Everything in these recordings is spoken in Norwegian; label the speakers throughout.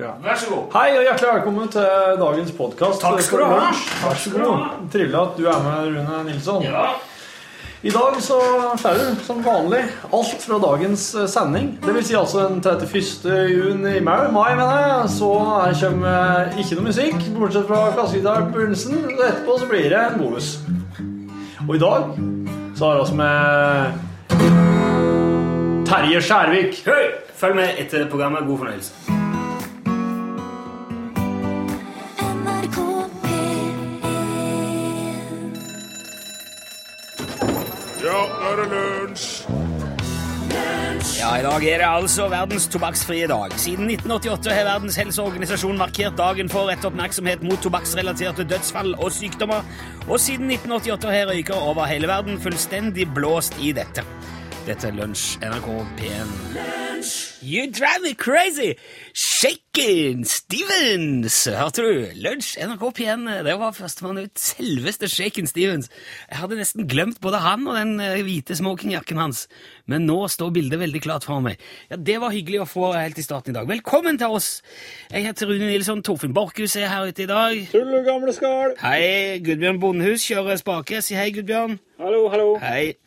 Speaker 1: Ja.
Speaker 2: Vær så god.
Speaker 1: Hei og hjertelig velkommen til dagens podkast.
Speaker 2: Takk skal du ha.
Speaker 1: Vær så god. Trivelig at du er med, Rune Nilsson.
Speaker 2: Ja.
Speaker 1: I dag så får du som vanlig alt fra dagens eh, sending. Det vil si altså den 31. juni i mai, mai mener jeg, så her kommer eh, ikke noe musikk, bortsett fra kassegitar på begynnelsen. Og etterpå så blir det en bonus. Og i dag så har vi oss med Terje Skjærvik.
Speaker 2: Høy! Følg med etter programmet. God fornøyelse.
Speaker 3: NRK P1
Speaker 4: Ja, nå er det lunsj!
Speaker 2: Ja, I dag er det altså verdens tobakksfrie dag. Siden 1988 har Verdens helseorganisasjon markert dagen for rett oppmerksomhet mot tobakksrelaterte dødsfall og sykdommer, og siden 1988 har røykere over hele verden fullstendig blåst i dette. Dette er Lunsj, NRK P1. You drive me crazy! Shaken Stevens! Hørte du? Lunsj, NRK P1, det var førstemann ut. Selveste Shaken Stevens. Jeg hadde nesten glemt både han og den eh, hvite smokingjakken hans, men nå står bildet veldig klart for meg. Ja, Det var hyggelig å få helt i starten i dag. Velkommen til oss! Jeg heter Rune Nilsson, Torfinn Borchhus er her ute i dag.
Speaker 5: Tull og gamle skal.
Speaker 2: Hei, Gudbjørn Bondhus kjører spake. Si hei, Gudbjørn.
Speaker 5: Hallo, hallo.
Speaker 2: Hei.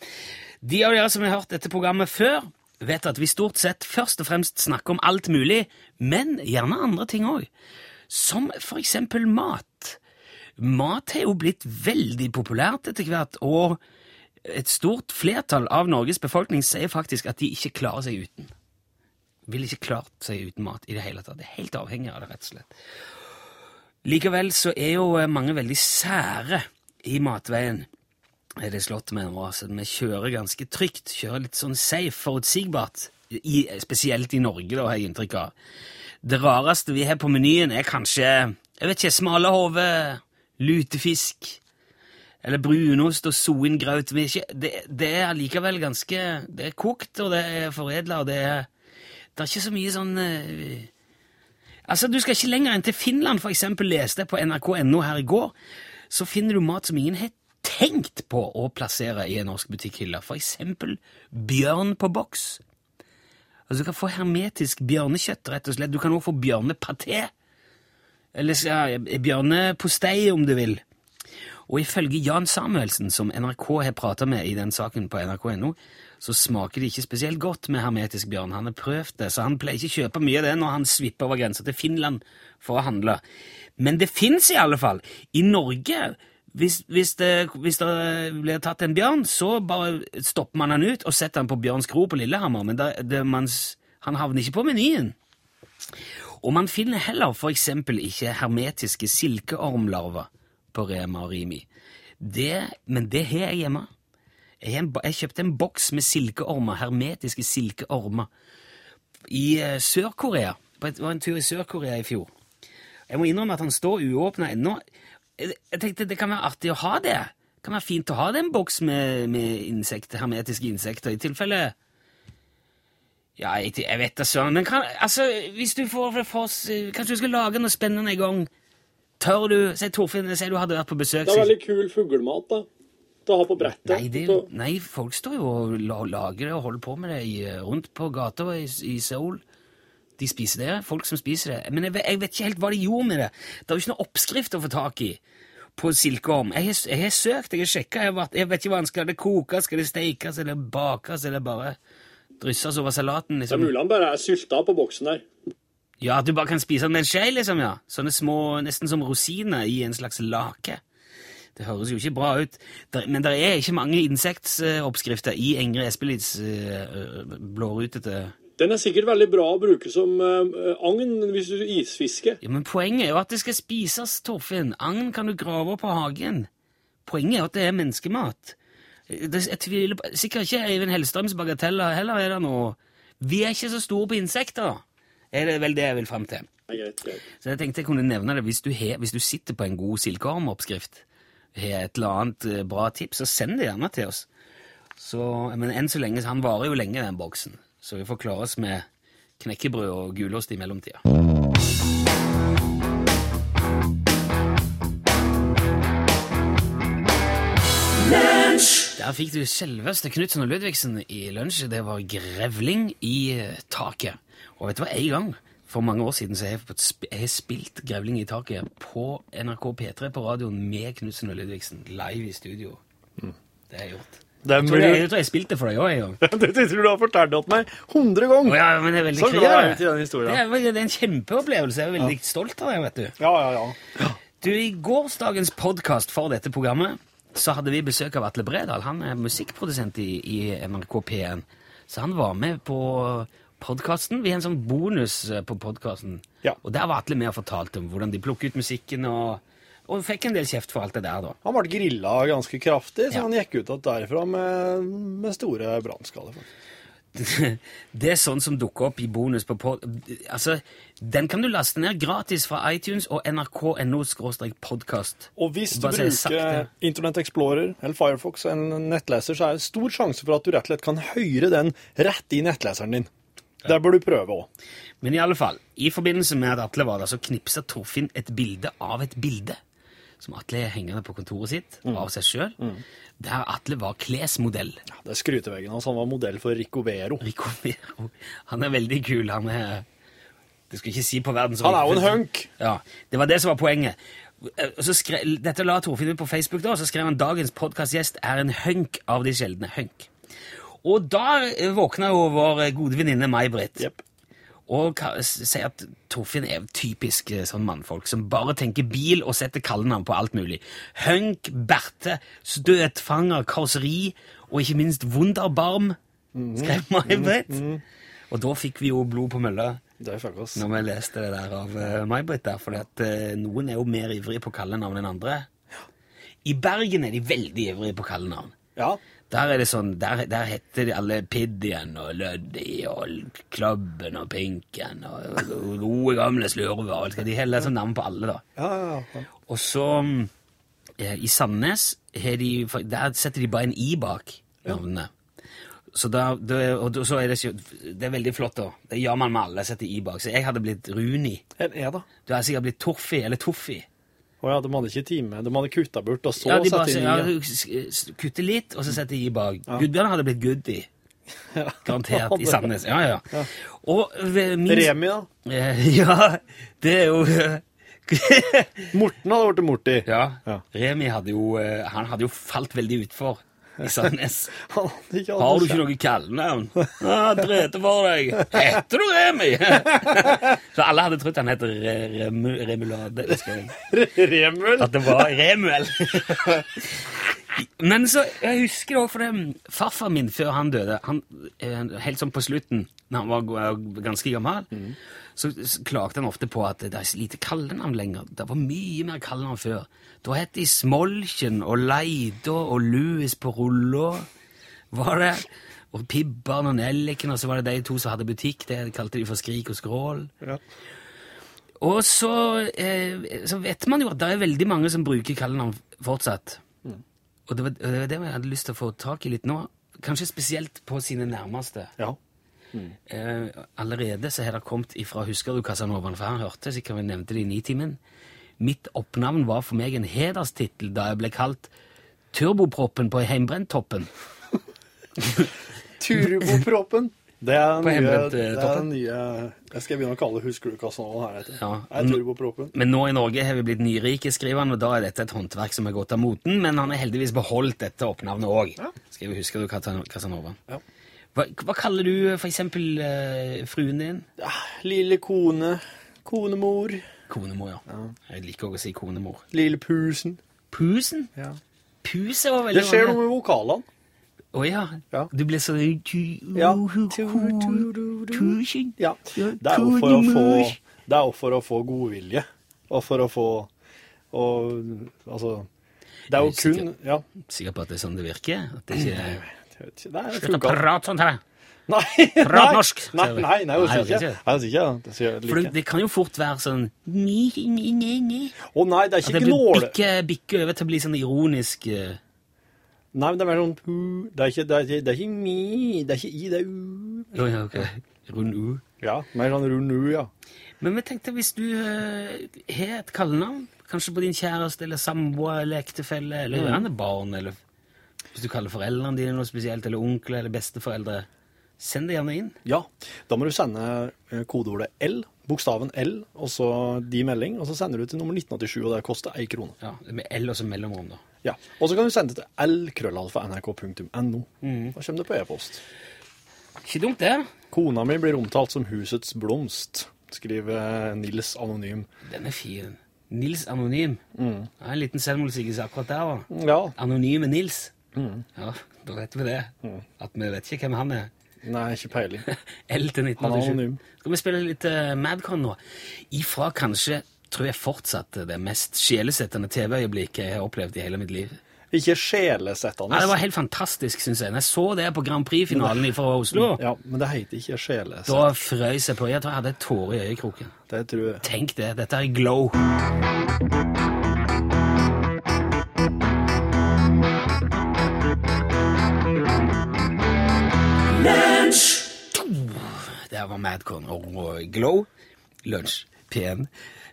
Speaker 2: De av dere som har hørt dette programmet før, vet at vi stort sett først og fremst snakker om alt mulig, men gjerne andre ting òg. Som for eksempel mat. Mat har jo blitt veldig populært etter hvert, og et stort flertall av Norges befolkning sier faktisk at de ikke klarer seg uten. Ville ikke klart seg uten mat i det hele tatt. Det er helt avhengig av det, rett og slett. Likevel så er jo eh, mange veldig sære i matveien. Er det slått med nå, altså. Vi kjører ganske trygt. Kjører litt sånn safe, forutsigbart. I, spesielt i Norge, da, har jeg inntrykk av. Det rareste vi har på menyen, er kanskje jeg vet ikke, smalahove, lutefisk eller brunost og soingraut. Vi er ikke- Det, det er allikevel ganske Det er kokt, og det er foredla, og det er Det er ikke så mye sånn eh, Altså, Du skal ikke lenger enn til Finland, for eksempel, leste jeg på nrk.no her i går. Så finner du mat som ingen har tenkt på å plassere i en norsk butikkhylle. For eksempel bjørn på boks. Altså, Du kan få hermetisk bjørnekjøtt, rett og slett. Du kan også få bjørnepaté. Eller ja, bjørnepostei, om du vil. Og ifølge Jan Samuelsen, som NRK har prata med i den saken på nrk.no, så smaker det ikke spesielt godt med hermetisk bjørn. Han har prøvd det, så han pleier ikke å kjøpe mye av det når han svipper over grensa til Finland for å handle. Men det fins i alle fall. I Norge, hvis, hvis, det, hvis det blir tatt en bjørn, så bare stopper man han ut og setter han på Bjørns Kro på Lillehammer, men det, det, man, s- han havner ikke på menyen. Og man finner heller for eksempel ikke hermetiske silkeormlarver på Rema og Rimi. Det, men det har jeg hjemme. Jeg, har en, bo- jeg kjøpte en boks med silkeormer, hermetiske silkeormer, i eh, Sør-Korea. På et- Det var en tur i Sør-Korea i fjor. Jeg må innrømme at han står uåpna ennå. Jeg jeg tenkte det kan være artig å ha det. Det kan være fint å ha det en boks med, med insekter, hermetiske insekter, i tilfelle ja, jeg, jeg vet da søren, men kan, altså, hvis du får det for oss, eh, kanskje du skal lage noe spennende en gang? Tør du, sier Torfinn, jeg sier du hadde vært på besøk.
Speaker 5: Det er
Speaker 2: sier-
Speaker 5: veldig kul fuglemat, da. Til å ha på brettet.
Speaker 2: Nei, det,
Speaker 5: Så-
Speaker 2: nei, folk står jo og la- lager det og holder på med det i, eh, rundt på gata i, i Seoul. De spiser det, folk som spiser det. Men jeg, ve- jeg vet ikke helt hva de gjorde med det. Det er jo ikke noen oppskrift å få tak i på silkeorm. Jeg, har s- jeg har søkt, jeg har sjekka. Jeg, har vært- jeg vet ikke hva den skal det kokes, skal det steikes, eller bakes, eller bare drysses over salaten?
Speaker 5: Det er
Speaker 2: Liksom.
Speaker 5: mulig han bare er sylta på boksen der.
Speaker 2: Ja, at du bare kan spise den med en skje, liksom, ja. Sånne små, nesten som rosiner i en slags lake. Det høres jo ikke bra ut, der, men det er ikke mange insektoppskrifter i Engre Espelids eh, eh, blårutete
Speaker 5: Den er sikkert veldig bra å bruke som eh, agn hvis du isfisker.
Speaker 2: Ja, Men poenget er jo at det skal spises, Torfinn. Agn kan du grave opp av hagen. Poenget er jo at det er menneskemat. Eh, Det, jeg tviler på Sikkert ikke Eivind Hellstrøms bagateller heller er det noe Vi er ikke så store på insekter, er det vel det jeg vil fram til.
Speaker 5: Nei, greit, greit.
Speaker 2: Så jeg tenkte jeg kunne nevne det hvis du, he, hvis du sitter på en god silkeormoppskrift, har et eller annet eh, bra tips, så send det gjerne til oss. Så, men enn så lenge, han varer jo lenge den boksen, så vi får klare oss med knekkebrød og gulost i mellomtida. Der fikk du selveste Knutsen og Ludvigsen i lunsj. Det var grevling i eh, taket. Og vet du hva, en gang For mange år siden så har jeg, fått sp- jeg har spilt Grevling i taket på NRK P3 på radioen med Knutsen og Ludvigsen live i studio. Det har jeg gjort. Jeg
Speaker 6: Mm. Det er
Speaker 2: tror jeg,
Speaker 6: mulig.
Speaker 2: jeg, tror jeg spilte for deg òg en gang.
Speaker 6: Dette tror du har fortalt det til meg 100 ganger.
Speaker 2: Å ja, men jeg er veldig
Speaker 6: Så glad jeg er
Speaker 2: kry av det.
Speaker 6: til den historien.
Speaker 2: Det er, det er en kjempeopplevelse. Jeg er veldig stolt av deg, vet du.
Speaker 6: Ja, ja, ja.
Speaker 2: Du, I gårsdagens podkast for dette programmet så hadde vi besøk av Atle Bredal. Han er musikkprodusent i, i NRK P1. Så han var med på podkasten. Vi har en sånn bonus eh, på podkasten.
Speaker 6: Ja.
Speaker 2: Og der var Atle med og fortalte om hvordan de plukker ut musikken, og, og fikk en del kjeft for alt det der, da.
Speaker 6: Han ble grilla ganske kraftig, så
Speaker 2: Ja.
Speaker 6: han gikk ut at derfra med, med store brannskader. faktisk.
Speaker 2: Det er sånn som dukker opp i bonus på pod... Altså, den kan du laste ned gratis fra iTunes og nrk.no-podkast.
Speaker 6: Og hvis du
Speaker 2: Bare så jeg har sagt
Speaker 6: bruker Internet Explorer eller Firefox, en nettleser, så er det stor sjanse for at du rett og slett kan høre den rett i nettleseren din. Der bør du prøve òg.
Speaker 2: Men i alle fall, i forbindelse med at Atle var der, så knipsa Torfinn et bilde av et bilde. Som Atle er hengende på kontoret sitt av seg sjøl. Der Atle var klesmodell.
Speaker 6: Det er skryteveggen hans. Han var modell for Rico Vero.
Speaker 2: Rico Vero. Han er veldig kul. Han er Du skal ikke si på verdens
Speaker 6: Han er jo en hunk.
Speaker 2: Ja, Det var det som var poenget. Eh, og Så skre, dette la Torfinn ut på Facebook, da, og så skrev han dagens podkastgjest er en hunk av de sjeldne hunk. Og da eh, våkna jo vår eh, gode venninne May-Britt.
Speaker 6: Jepp.
Speaker 2: Og ka- s- sier at Torfinn er typisk eh, sånn mannfolk som bare tenker bil og setter kallenavn på alt mulig. Hunk, berte, støtfanger, karosseri og ikke minst wunderbarm, skrev May-Britt. Og da fikk vi jo blod på mølla
Speaker 6: Det fikk oss.
Speaker 2: når vi leste det der av eh, May-Britt der, fordi at eh, noen er jo mer ivrige på kallenavn enn andre. I Bergen er de veldig ivrige på kallenavn.
Speaker 6: Ja.
Speaker 2: Der er det sånn, der, der heter de alle Piddien og Løddi og Klubben og Pinken og gode gamle slurver. og alt det. De heller sånn navn på alle, da.
Speaker 6: Ja, ja, ja.
Speaker 2: Og så mm, eh, i Sandnes har de, for der setter de bare en i bak navnene. Så, da, da- og da- så er det, ikke- det er veldig flott, da. Det gjør man med alle. setter i bak. Så jeg hadde blitt Runi.
Speaker 6: En E, da.
Speaker 2: Du hadde sikkert blitt Torfi eller Toffi.
Speaker 6: Å ja, de hadde ikke time. De hadde kutta bort, og så
Speaker 2: Ja, de bare
Speaker 6: satte inn
Speaker 2: ja,
Speaker 6: i.
Speaker 2: s- s- kutter litt, og så setter i bak. Gudbjørn hadde blitt Guddi. Garantert. I Sandnes. Ja, ja. ja. Og ved min
Speaker 6: Remi, da.
Speaker 2: Eh, Ja, det er jo eh,
Speaker 6: Morten hadde blitt Morti.
Speaker 2: Ja.
Speaker 6: Ja.
Speaker 2: Remi hadde jo, eh, han hadde jo falt veldig utfor i Sandnes.
Speaker 6: Han hadde ikke hatt
Speaker 2: Har du
Speaker 6: noe
Speaker 2: ikke noe kallenavn? Ah, drete for deg. Heter du Remi? Så alle hadde trodd han het Re- Remu, Remulade. husker jeg.
Speaker 6: Remuel.
Speaker 2: At det var Remuel. Men så, jeg husker det også, for det, farfar min før han døde, han, eh, helt sånn på slutten, når han var g- ganske gammel, så s- klagde han ofte på at det er så lite kallenavn lenger. Det var mye mer kallenavn før. Da het de Smolken og Leida og Louis på rulla, var det. Og Pibberen og Nelliken, og så var det de to som hadde butikk, det kalte de for Skrik og Skrål. Og så, eh, så vet man jo at det er veldig mange som bruker kallenavn fortsatt. Og det var, det var det jeg hadde lyst til å få tak i litt nå. Kanskje spesielt på sine nærmeste.
Speaker 6: Ja.
Speaker 2: Eh, allerede så har det kommet ifra Husker du Casanovaen, for han hørte sikkert vi nevnte det i Nitimen. Mitt oppnavn var for meg en hederstittel da jeg ble kalt Turboproppen på Heimbrenttoppen.
Speaker 6: Turboproppen. Det er den
Speaker 2: På
Speaker 6: nye,
Speaker 2: hjemmebrent, eh,
Speaker 6: det er
Speaker 2: toppen.
Speaker 6: den nye Jeg skal begynne å kalle Husker du Casanova her etter.
Speaker 2: Ja.
Speaker 6: Det er turboproppen.
Speaker 2: Men nå i Norge har vi blitt nyrike, skriver han, og da er dette et håndverk som er gått av moten, men han har heldigvis beholdt dette oppnavnet òg. Skriver Husker du Catan- Casanova?
Speaker 6: Ja.
Speaker 2: Hva, hva kaller du for eksempel eh, fruen din?
Speaker 6: Ja, lille kone. Konemor.
Speaker 2: Konemor, ja. Jeg liker også å si konemor.
Speaker 6: Lille pusen.
Speaker 2: Pusen?
Speaker 6: Ja.
Speaker 2: Pus er jo veldig
Speaker 6: Det skjer
Speaker 2: vanlig.
Speaker 6: noe med vokalene.
Speaker 2: Å ja.
Speaker 6: Ja.
Speaker 2: Du blir så
Speaker 6: Ja.
Speaker 2: Tusen.
Speaker 6: Ja. Det er jo for å få Det er jo for å få godvilje. Og for å få Og altså Det er jo
Speaker 2: Jeg er
Speaker 6: kun Ja.
Speaker 2: Sikker på at det er sånn det virker? At det ikke er
Speaker 6: Jeg vet ikke. Nei, det
Speaker 2: Slutt å
Speaker 6: funka.
Speaker 2: prate sånn til meg!
Speaker 6: Nei,
Speaker 2: Prat norsk,
Speaker 6: Nei,
Speaker 2: sier vi.
Speaker 6: nei, nei, jeg
Speaker 2: Nei,
Speaker 6: sier
Speaker 2: jeg
Speaker 6: ikke.
Speaker 2: sier
Speaker 6: Jeg sier ikke det. Jeg sier det
Speaker 2: For det,
Speaker 6: like.
Speaker 2: det kan jo fort være sånn ni, ni, ni, ni.
Speaker 6: Å nei, det er
Speaker 2: At
Speaker 6: ikke
Speaker 2: det blir
Speaker 6: gnåle.
Speaker 2: bikke, bikke over til å bli sånn ironisk eh.
Speaker 6: Nei, men det er mer sånn pu. Det er ikke, det er, ikke- det er ikke mi, det er ikke i, det er u.
Speaker 2: Å ja, ok. Rund U.
Speaker 6: Ja, mer sånn rund u, ja.
Speaker 2: Men vi tenkte hvis du eh, har et kallenavn, kanskje på din kjæreste eller samboer eller ektefelle
Speaker 6: Mm.
Speaker 2: eller gjerne barn, eller hvis du kaller foreldrene dine noe spesielt, eller onkler eller besteforeldre, send det gjerne inn.
Speaker 6: Ja, da må du sende eh, kodeordet L, bokstaven L, og så de melding, og så sender du til nummer 1987, og det koster ei krone.
Speaker 2: Ja, med L og så mellomrom, da.
Speaker 6: Ja. Og så kan du sende det til lkrøllalfa.nrk.no.
Speaker 2: Mm.
Speaker 6: Da kommer det på e-post.
Speaker 2: Ikke dumt, det.
Speaker 6: Kona mi blir omtalt som husets blomst, skriver eh, Nils anonym.
Speaker 2: Den er fin. Nils Anonym.
Speaker 6: Mm.
Speaker 2: Ja, en liten selvmordsigelse akkurat der, da.
Speaker 6: Ja,
Speaker 2: Anonyme Nils.
Speaker 6: Mm.
Speaker 2: Ja, da vet vi det. At vi vet ikke hvem han er.
Speaker 6: nei, ikke peiling.
Speaker 2: L til
Speaker 6: Han er
Speaker 2: 1987.
Speaker 6: anonym.
Speaker 2: Skal vi spille litt eh, Madcon nå? Ifra kanskje, tror jeg fortsatt, det mest sjelesettende TV-øyeblikket jeg har opplevd i hele mitt liv.
Speaker 6: Ikke sjelesettende.
Speaker 2: Nei, det var helt fantastisk, syns jeg. Når jeg så det på Grand Prix-finalen fra Oslo,
Speaker 6: Ja, men det heter ikke sjelesett.
Speaker 2: da frøys jeg på. Jeg tror jeg hadde tårer i øyekroken.
Speaker 6: Det tror jeg.
Speaker 2: Tenk det. Dette er glow. Der var Madcon og Glow. Lunsj. P1.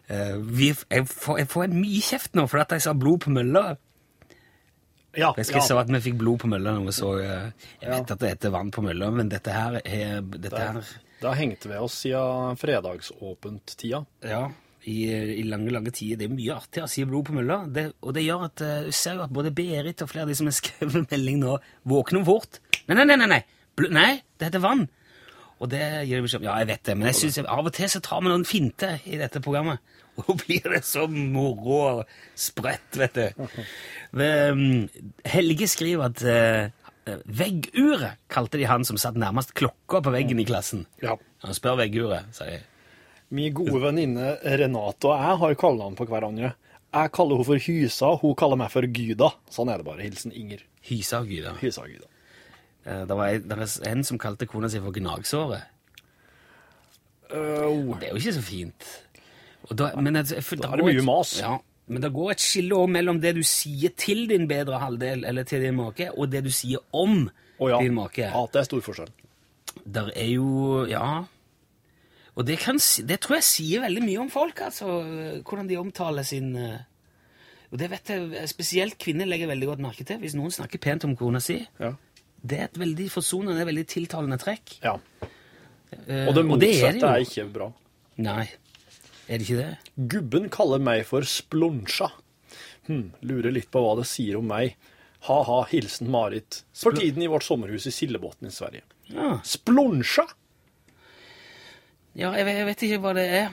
Speaker 2: Eh, vi, jeg, får, jeg får en mye kjeft nå for at jeg sa blod på mølla.
Speaker 6: Ja,
Speaker 2: Jeg skal
Speaker 6: ja.
Speaker 2: si at vi fikk blod på mølla når vi så eh, Jeg vet at det heter vann på mølla, men dette her er dette her,
Speaker 6: Det har hengt ved oss siden fredagsåpent-tida.
Speaker 2: ja, i, i lange, lange tider. Det er mye artig å si blod på mølla. Det, og det gjør at eh, du ser jo at både Berit og flere av de som har skrevet melding nå, våkner fort. Nei, nei, nei, nei! Nei, Bl nei det heter vann! Og det gir beskjed om. Ja, jeg vet det, men jeg synes jeg, av og til så tar vi noen finter i dette programmet. Og blir det så moro og sprøtt, vet du. Ved, um, Helge skriver at eh, vegguret kalte de han som satt nærmest klokka på veggen i klassen.
Speaker 6: Ja.
Speaker 2: Han spør vegguret, sier jeg.
Speaker 6: Min gode venninne Renate og jeg har kallenavn på hverandre. Jeg kaller henne for Hysa, hun kaller meg for Gyda. Sånn er det bare. Hilsen Inger.
Speaker 2: Hysa og gyda.
Speaker 6: Hysa og Gyda.
Speaker 2: Eh, Det var ei- der er en som kalte kona si for gnagsåret.
Speaker 6: Au.
Speaker 2: Det er jo ikke så fint. Og da, men altså, jeg, jeg, føler-
Speaker 6: Da er det
Speaker 2: går
Speaker 6: mye
Speaker 2: et-
Speaker 6: mas.
Speaker 2: Ja, men det går et skille også mellom det du sier til din bedre halvdel, eller til din make, og det du sier om
Speaker 6: Å ja.
Speaker 2: din make.
Speaker 6: ja, det er stor forskjell.
Speaker 2: Der er jo Ja. Og det, kan, si- det tror jeg sier veldig mye om folk, altså. Hvordan de omtaler sin eh, Og det vet jeg spesielt kvinner legger veldig godt merke til. Hvis noen snakker pent om kona si,
Speaker 6: Ja.
Speaker 2: det er et veldig forsonende, veldig tiltalende trekk.
Speaker 6: ja.
Speaker 2: Eh,
Speaker 6: Og det motsatte
Speaker 2: det
Speaker 6: er,
Speaker 2: jo.
Speaker 6: ikke bra.
Speaker 2: Nei. Er det ikke det?
Speaker 6: Gubben kaller meg for Splonsja. Hm, lurer litt på hva det sier om meg. Ha-ha, hilsen Marit. For tiden i vårt sommerhus i Sillebotn i Sverige.
Speaker 2: Ja.
Speaker 6: Splonsja!
Speaker 2: Ja, jeg, ve- jeg vet ikke hva det er.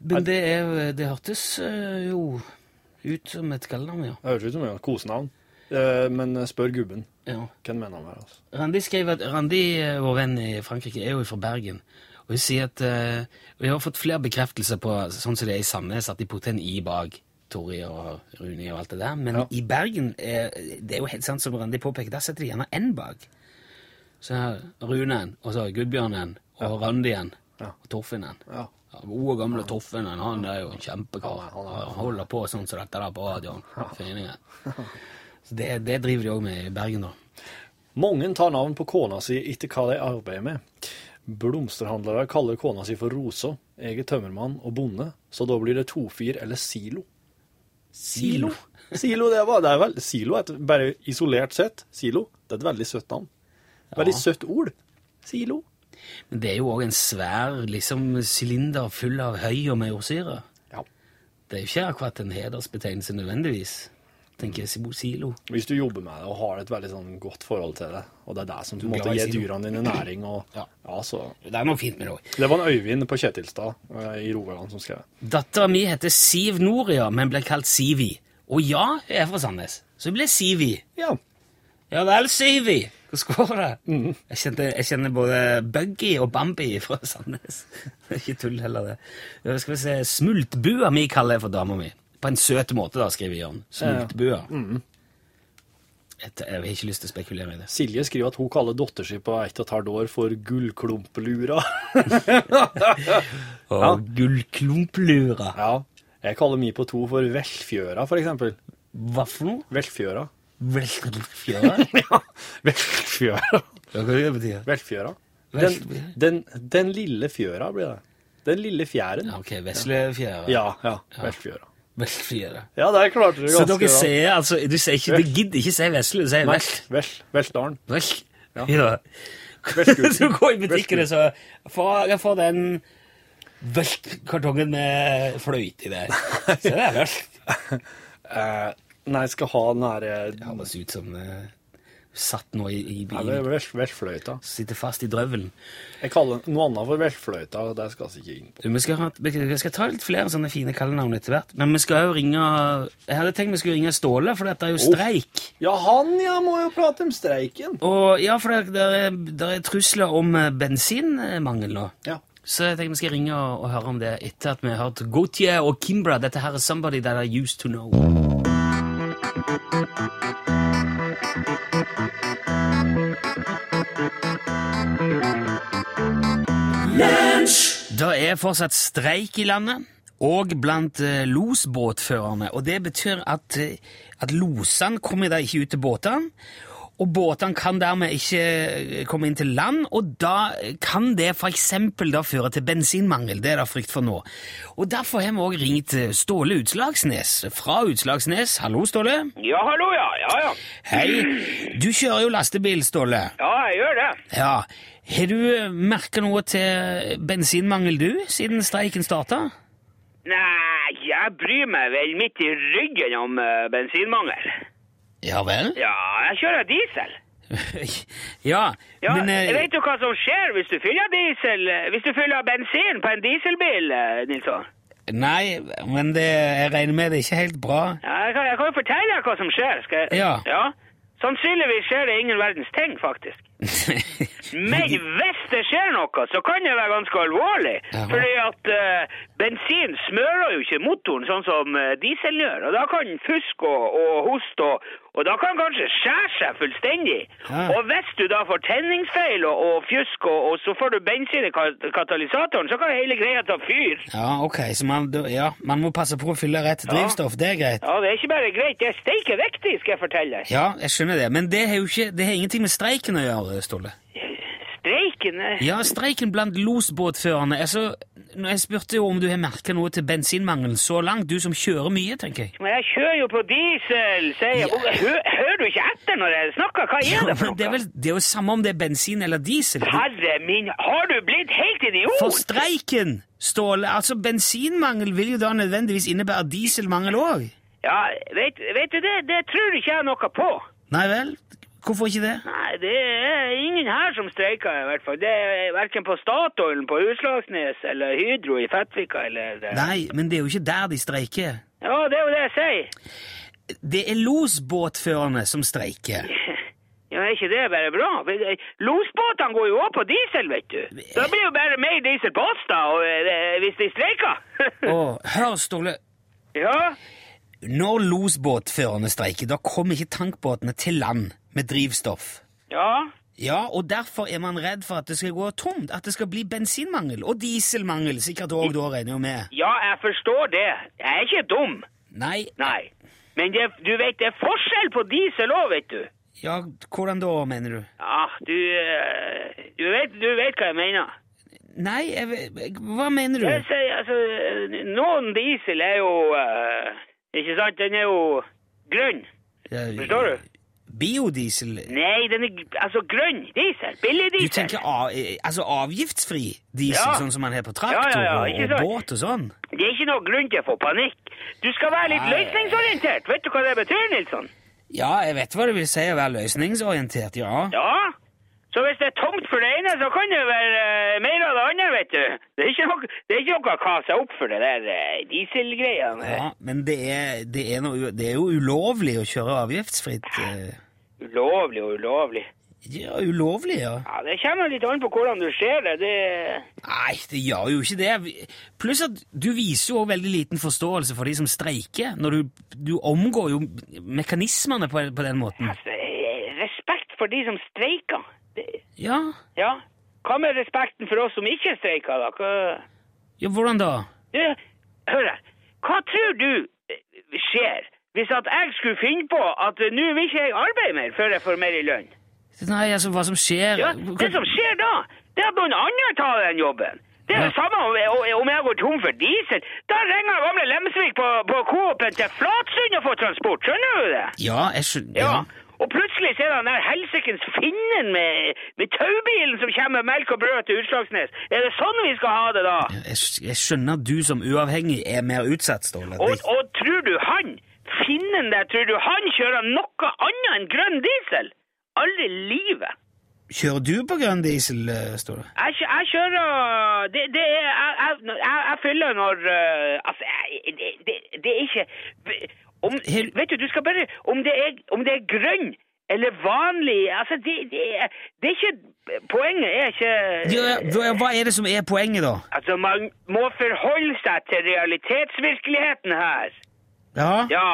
Speaker 2: Men det, er, det hørtes øh, jo ut som et kallenavn, ja.
Speaker 6: Det høres ut som et kosenavn. Eh, Men spør gubben.
Speaker 2: ja.
Speaker 6: Hvem mener han er, altså?
Speaker 2: Randi skrev at Randi, øh, vår venn i Frankrike, er jo fra Bergen. Og hun sier at øh, Vi har fått flere bekreftelser på sånn som det er i Sandnes, at de putter en i bak Tori og Runi og alt det der. Men
Speaker 6: Ja.
Speaker 2: i Bergen er, det er jo helt sant som Randi påpeker, der setter de gjerne en bak. Så her, Runen, og så Gudbjørnen, og Randien,
Speaker 6: Ja.
Speaker 2: og Torfinnen.
Speaker 6: Ja.
Speaker 2: Ja, Gode, gamle Toffen, han, han er jo en kjempekar. Han holder på sånn som dette der på radioen. Fyringen. Så det, det driver de òg med i Bergen, da.
Speaker 6: Mange tar navn på kona si etter hva de arbeider med. Blomsterhandlere kaller kona si for Rosa. Jeg er tømmermann og bonde, så da blir det tofyr eller silo.
Speaker 2: Silo?
Speaker 6: Silo, det var, det er vel, silo er et, bare isolert sett. Silo, det er et veldig søtt navn. Veldig søtt ord. Silo.
Speaker 2: Men det er jo òg en svær liksom, sylinder full av høy og majorsyre.
Speaker 6: Ja.
Speaker 2: Det er jo ikke akkurat en hedersbetegnelse nødvendigvis, tenker jeg. Sibo- Silo.
Speaker 6: Hvis du jobber med det og har et veldig sånn godt forhold til det, og det er det som på
Speaker 2: er
Speaker 6: en måte
Speaker 2: glad i
Speaker 6: gir
Speaker 2: silo.
Speaker 6: dyrene dine næring og
Speaker 2: Ja.
Speaker 6: ja, så.
Speaker 2: Det er noe fint med det òg.
Speaker 6: Det var en Øyvind på Kjetilstad eh, i Rogaland som skrev det.
Speaker 2: Dattera mi heter Siv Noria, men blir kalt Sivi. Og ja, jeg er fra Sandnes, så jeg ble Sivi.
Speaker 6: Ja.
Speaker 2: Ja vel, Sivi! Hvordan går det? Mm. Jeg, kjente, jeg kjenner både Buggy og Bambi fra Sandnes. Det er Ikke tull heller, det. Ja, Skal vi se, Smultbua mi kaller jeg for dama mi. På en søt måte, da, skriver Jørn. Smultbua. Jeg, jeg har ikke lyst til å spekulere i det.
Speaker 6: Silje skriver at hun kaller datter si på ett og et halvt år for gullklumplura.
Speaker 2: Og gullklumplura.
Speaker 6: Ja. Jeg kaller mi på to for velfjøra, for eksempel.
Speaker 2: Hva for noe?
Speaker 6: Velfjøra.
Speaker 2: Velfjøra?
Speaker 6: Ja, velfjøra.
Speaker 2: Hva kan det bety?
Speaker 6: Velfjøra. Den,
Speaker 2: Velfjøra.
Speaker 6: den, den lille fjøra blir det. Den lille fjæren.
Speaker 2: Ja, ok, veslefjæra.
Speaker 6: Ja, ja. Velfjøra.
Speaker 2: Velfjæra.
Speaker 6: Ja, der klarte du
Speaker 2: Så
Speaker 6: ganske
Speaker 2: dere sier altså Du sier ikke, du
Speaker 6: Vel.
Speaker 2: gidder ikke si vesle, du sier
Speaker 6: Nei,
Speaker 2: vel.
Speaker 6: vel, Veltdalen.
Speaker 2: Vel? Ja.
Speaker 6: Velskurt.
Speaker 2: Så går i butikken og så får jeg får den Vølk kartongen med fløyte i det. Se der, vølk.
Speaker 6: Eh, nei, jeg skal ha den her
Speaker 2: Det
Speaker 6: eh,
Speaker 2: høres ut som eh, satt nå i, i
Speaker 6: Nei, det
Speaker 2: bilen.
Speaker 6: er vel- velfløyta.
Speaker 2: Sitter fast i drøvelen.
Speaker 6: Jeg kaller den noe annet for velfløyta, og det skal vi ikke inn på.
Speaker 2: Du, vi, skal ha, vi vi skal ta litt flere sånne fine kallenavn etter hvert. Men vi skal jo ringe Jeg hadde tenkt vi skulle ringe Ståle, for dette er jo streik.
Speaker 6: Ja, han ja, må jo prate om streiken.
Speaker 2: Og ja, for det, der, er, der er trusler om eh, bensinmangel nå.
Speaker 6: Ja.
Speaker 2: Så jeg tenker vi skal ringe og, og høre om det etter at vi har hørt Gautier og Kimbra. Dette her er Somebody That I Used To Know. Det er fortsatt streik i landet, og blant eh, losbåtførerne. Og det betyr at, eh, at losene kommer da ikke ut til båtene, og båtene kan dermed ikke eh, komme inn til land, og da kan det for eksempel da føre til bensinmangel. Det er det frykt for nå. Og derfor har vi også ringt eh, Ståle Utslagsnes fra Utslagsnes. Hallo, Ståle.
Speaker 7: Ja, hallo, ja. Ja, ja.
Speaker 2: Hei. Du kjører jo lastebil, Ståle.
Speaker 7: Ja, jeg gjør det.
Speaker 2: Ja. Har du merka noe til bensinmangel, du, siden streiken starta?
Speaker 7: Nei, jeg bryr meg vel midt i ryggen om eh, bensinmangel.
Speaker 2: Ja vel?
Speaker 7: Ja, jeg kjører diesel.
Speaker 2: ja,
Speaker 7: Ja,
Speaker 2: men eh,
Speaker 7: Vet du hva som skjer hvis du fyller diesel, eh, hvis du fyller bensin på en dieselbil, eh, Nilsson?
Speaker 2: Nei, men det, jeg regner med det er ikke helt bra.
Speaker 7: Ja, jeg, kan, jeg kan jo fortelle deg hva som skjer. Skal jeg?
Speaker 2: Ja.
Speaker 7: Sannsynligvis skjer det ingen verdens ting, faktisk. Men hvis det skjer noe, så kan det være ganske alvorlig.
Speaker 2: Jaha.
Speaker 7: Fordi at eh, bensin smører jo ikke motoren sånn som eh, dieselen gjør. Og da kan den fuske og, og hoste, og, og da kan den kanskje skjære seg fullstendig.
Speaker 2: Ja.
Speaker 7: Og hvis du da får tenningsfeil og, og fjusk, og, og så får du bensin i ka- katalysatoren, så kan hele greia ta fyr.
Speaker 2: Ja, ok, så man, da- ja, man må passe på å fylle rett drivstoff. Det er greit.
Speaker 7: Ja, det er ikke bare greit, det er steike viktig, skal jeg fortelle deg.
Speaker 2: Ja, jeg skjønner det, men det har jo ikke, det har ingenting med streiken å gjøre, Ståle.
Speaker 7: Streiken eh,
Speaker 2: Ja, streiken blant losbåtførerne. Altså, når jeg spurte jo om du har merka noe til bensinmangelen så langt, du som kjører mye, tenker jeg.
Speaker 7: Men jeg kjører jo på diesel, sier jeg.
Speaker 2: Ja.
Speaker 7: Hø, hører du ikke etter når jeg snakker? Hva
Speaker 2: Ja,
Speaker 7: er det for
Speaker 2: men
Speaker 7: noe?
Speaker 2: det er, vel, det er jo samme om det er bensin eller diesel. Du-
Speaker 7: Herre min, har du blitt helt idiot?
Speaker 2: For streiken, Ståle, altså bensinmangel vil jo da nødvendigvis innebære dieselmangel òg.
Speaker 7: Ja, vet, vet du det? Det tror ikke jeg noe på.
Speaker 2: Nei vel, hvorfor ikke det?
Speaker 7: Nei, det er ingen her som streiker i hvert fall. Det er hverken på Statoil, på Utslagsnes eller Hydro i Fettvika eller...
Speaker 2: Nei, men det er jo ikke der de streiker.
Speaker 7: Ja, det er jo det jeg sier.
Speaker 2: Det er losbåtførerne som streiker.
Speaker 7: Ja, er ikke det bare bra? Losbåtene går jo også på diesel, vet du. Da blir jo bare mer diesel på oss da, og, eh, hvis de streiker.
Speaker 2: Og hør, Ståle,
Speaker 7: ja.
Speaker 2: når losbåtførerne streiker, da kommer ikke tankbåtene til land med drivstoff.
Speaker 7: Ja.
Speaker 2: Ja, og derfor er man redd for at det skal gå tomt, at det skal bli bensinmangel og dieselmangel, sikkert òg da, regner jeg med.
Speaker 7: ja, jeg forstår det. Jeg er ikke dum.
Speaker 2: Nei,
Speaker 7: Nei. Men det, du vet, det er forskjell på diesel òg, vet du.
Speaker 2: ja, hvordan da, mener du?
Speaker 7: Ja, du eh, du vet, du vet hva jeg mener.
Speaker 2: Nei, jeg, ve- hva mener du?
Speaker 7: Jeg sier, altså, eh, noen diesel er jo eh, Ikke sant? Den er jo grønn. Forstår du?
Speaker 2: Biodiesel?
Speaker 7: Nei, den er gr- altså grønn diesel. Billig
Speaker 2: Du
Speaker 7: diesel.
Speaker 2: tenker av, eh, altså avgiftsfri diesel,
Speaker 7: Ja.
Speaker 2: sånn som man har på
Speaker 7: Ja,
Speaker 2: traktor
Speaker 7: ja, ja,
Speaker 2: og,
Speaker 7: ikke
Speaker 2: og
Speaker 7: sant.
Speaker 2: båt og sånn?
Speaker 7: Det er ikke noe grunn til å få panikk. Du skal være litt
Speaker 2: Nei.
Speaker 7: løsningsorientert. Vet du hva det betyr, Nilsson?
Speaker 2: Ja, jeg vet hva det vil si å være løsningsorientert, ja.
Speaker 7: Ja. Så hvis det er tomt for det ene, så kan det være eh, mer av det andre, vet du. Det er ikke noe, det er ikke noe å kase opp for det der eh, dieselgreiene.
Speaker 2: Ja, men det er, det, er noe, u- det er jo ulovlig å kjøre avgiftsfritt. eh.
Speaker 7: Ulovlig og ulovlig.
Speaker 2: Ja, ulovlig, ja.
Speaker 7: Ja, det kommer litt an på hvordan du ser det. det
Speaker 2: Nei, det gjør jo ikke det. Vi- Pluss at du viser jo også veldig liten forståelse for de som streiker, når du, du omgår jo mekanismene på, på den måten.
Speaker 7: altså, eh, respekt for de som streiker. Det,
Speaker 2: Ja,
Speaker 7: ja. Hva med respekten for oss som ikke streiker, da? Hva...
Speaker 2: ja hvordan da?
Speaker 7: Du, hør her. Hva tror du eh, skjer hvis at jeg skulle finne på at eh, nå vil ikke jeg arbeide mer før jeg får mer i lønn?
Speaker 2: Nei, altså, hva som skjer?
Speaker 7: Ja, det som skjer da, det er at noen andre tar den jobben. Det er det samme om, om jeg går tom for diesel. Da ringer gamle Lemsvik på, på Coop-en til Flatsund og får transport, skjønner du det?
Speaker 2: Ja, jeg skjønner.
Speaker 7: Ja.
Speaker 2: Ja.
Speaker 7: Og plutselig så er det han der helsikens finnen med, med taubilen som kommer med melk og brød til Utslagsnes. Er det sånn vi skal ha det, da?
Speaker 2: Jeg, jeg skjønner at du som uavhengig er mer utsatt, Ståle.
Speaker 7: Og,
Speaker 2: Det-
Speaker 7: og tror du han, finnen der, tror du han kjører noe annet enn grønn diesel? Aldri i livet.
Speaker 2: Kjører du på grønn diesel, eh, Ståle?
Speaker 7: Jeg, kjø- jeg kjører øh, det, det er, jeg, jeg, når- jeg, jeg fyller når øh, Altså, jeg, det, det, det er ikke om,
Speaker 2: Hel-
Speaker 7: Vet du, du skal bare Om det er, om det er grønn eller vanlig Altså, det, det, er- det er ikke Poenget er ikke
Speaker 2: Ja, hva hva er det som er poenget, da?
Speaker 7: Altså, man må forholde seg til realitetsvirkeligheten her.
Speaker 2: Ja,
Speaker 7: Ja,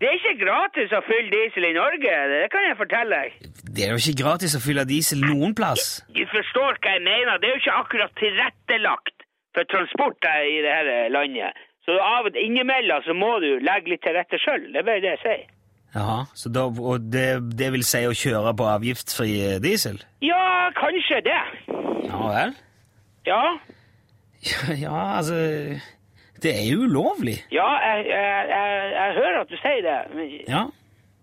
Speaker 7: det er ikke gratis å fylle diesel i Norge, det kan jeg fortelle deg.
Speaker 2: Det er jo ikke gratis å fylle diesel noen plass.
Speaker 7: Du forstår hva jeg mener, det er jo ikke akkurat tilrettelagt for transport her i det her landet. Så av og innimellom så må du legge litt til rette sjøl, det er bare det jeg sier.
Speaker 2: Jaha, så da, Og det, det vil si å kjøre på avgiftsfri eh, diesel?
Speaker 7: Ja, kanskje det.
Speaker 2: Ja vel?
Speaker 7: Ja,
Speaker 2: Ja, altså Det er jo ulovlig.
Speaker 7: ja jeg, jeg, jeg, jeg hører at du sier det. men
Speaker 2: Ja.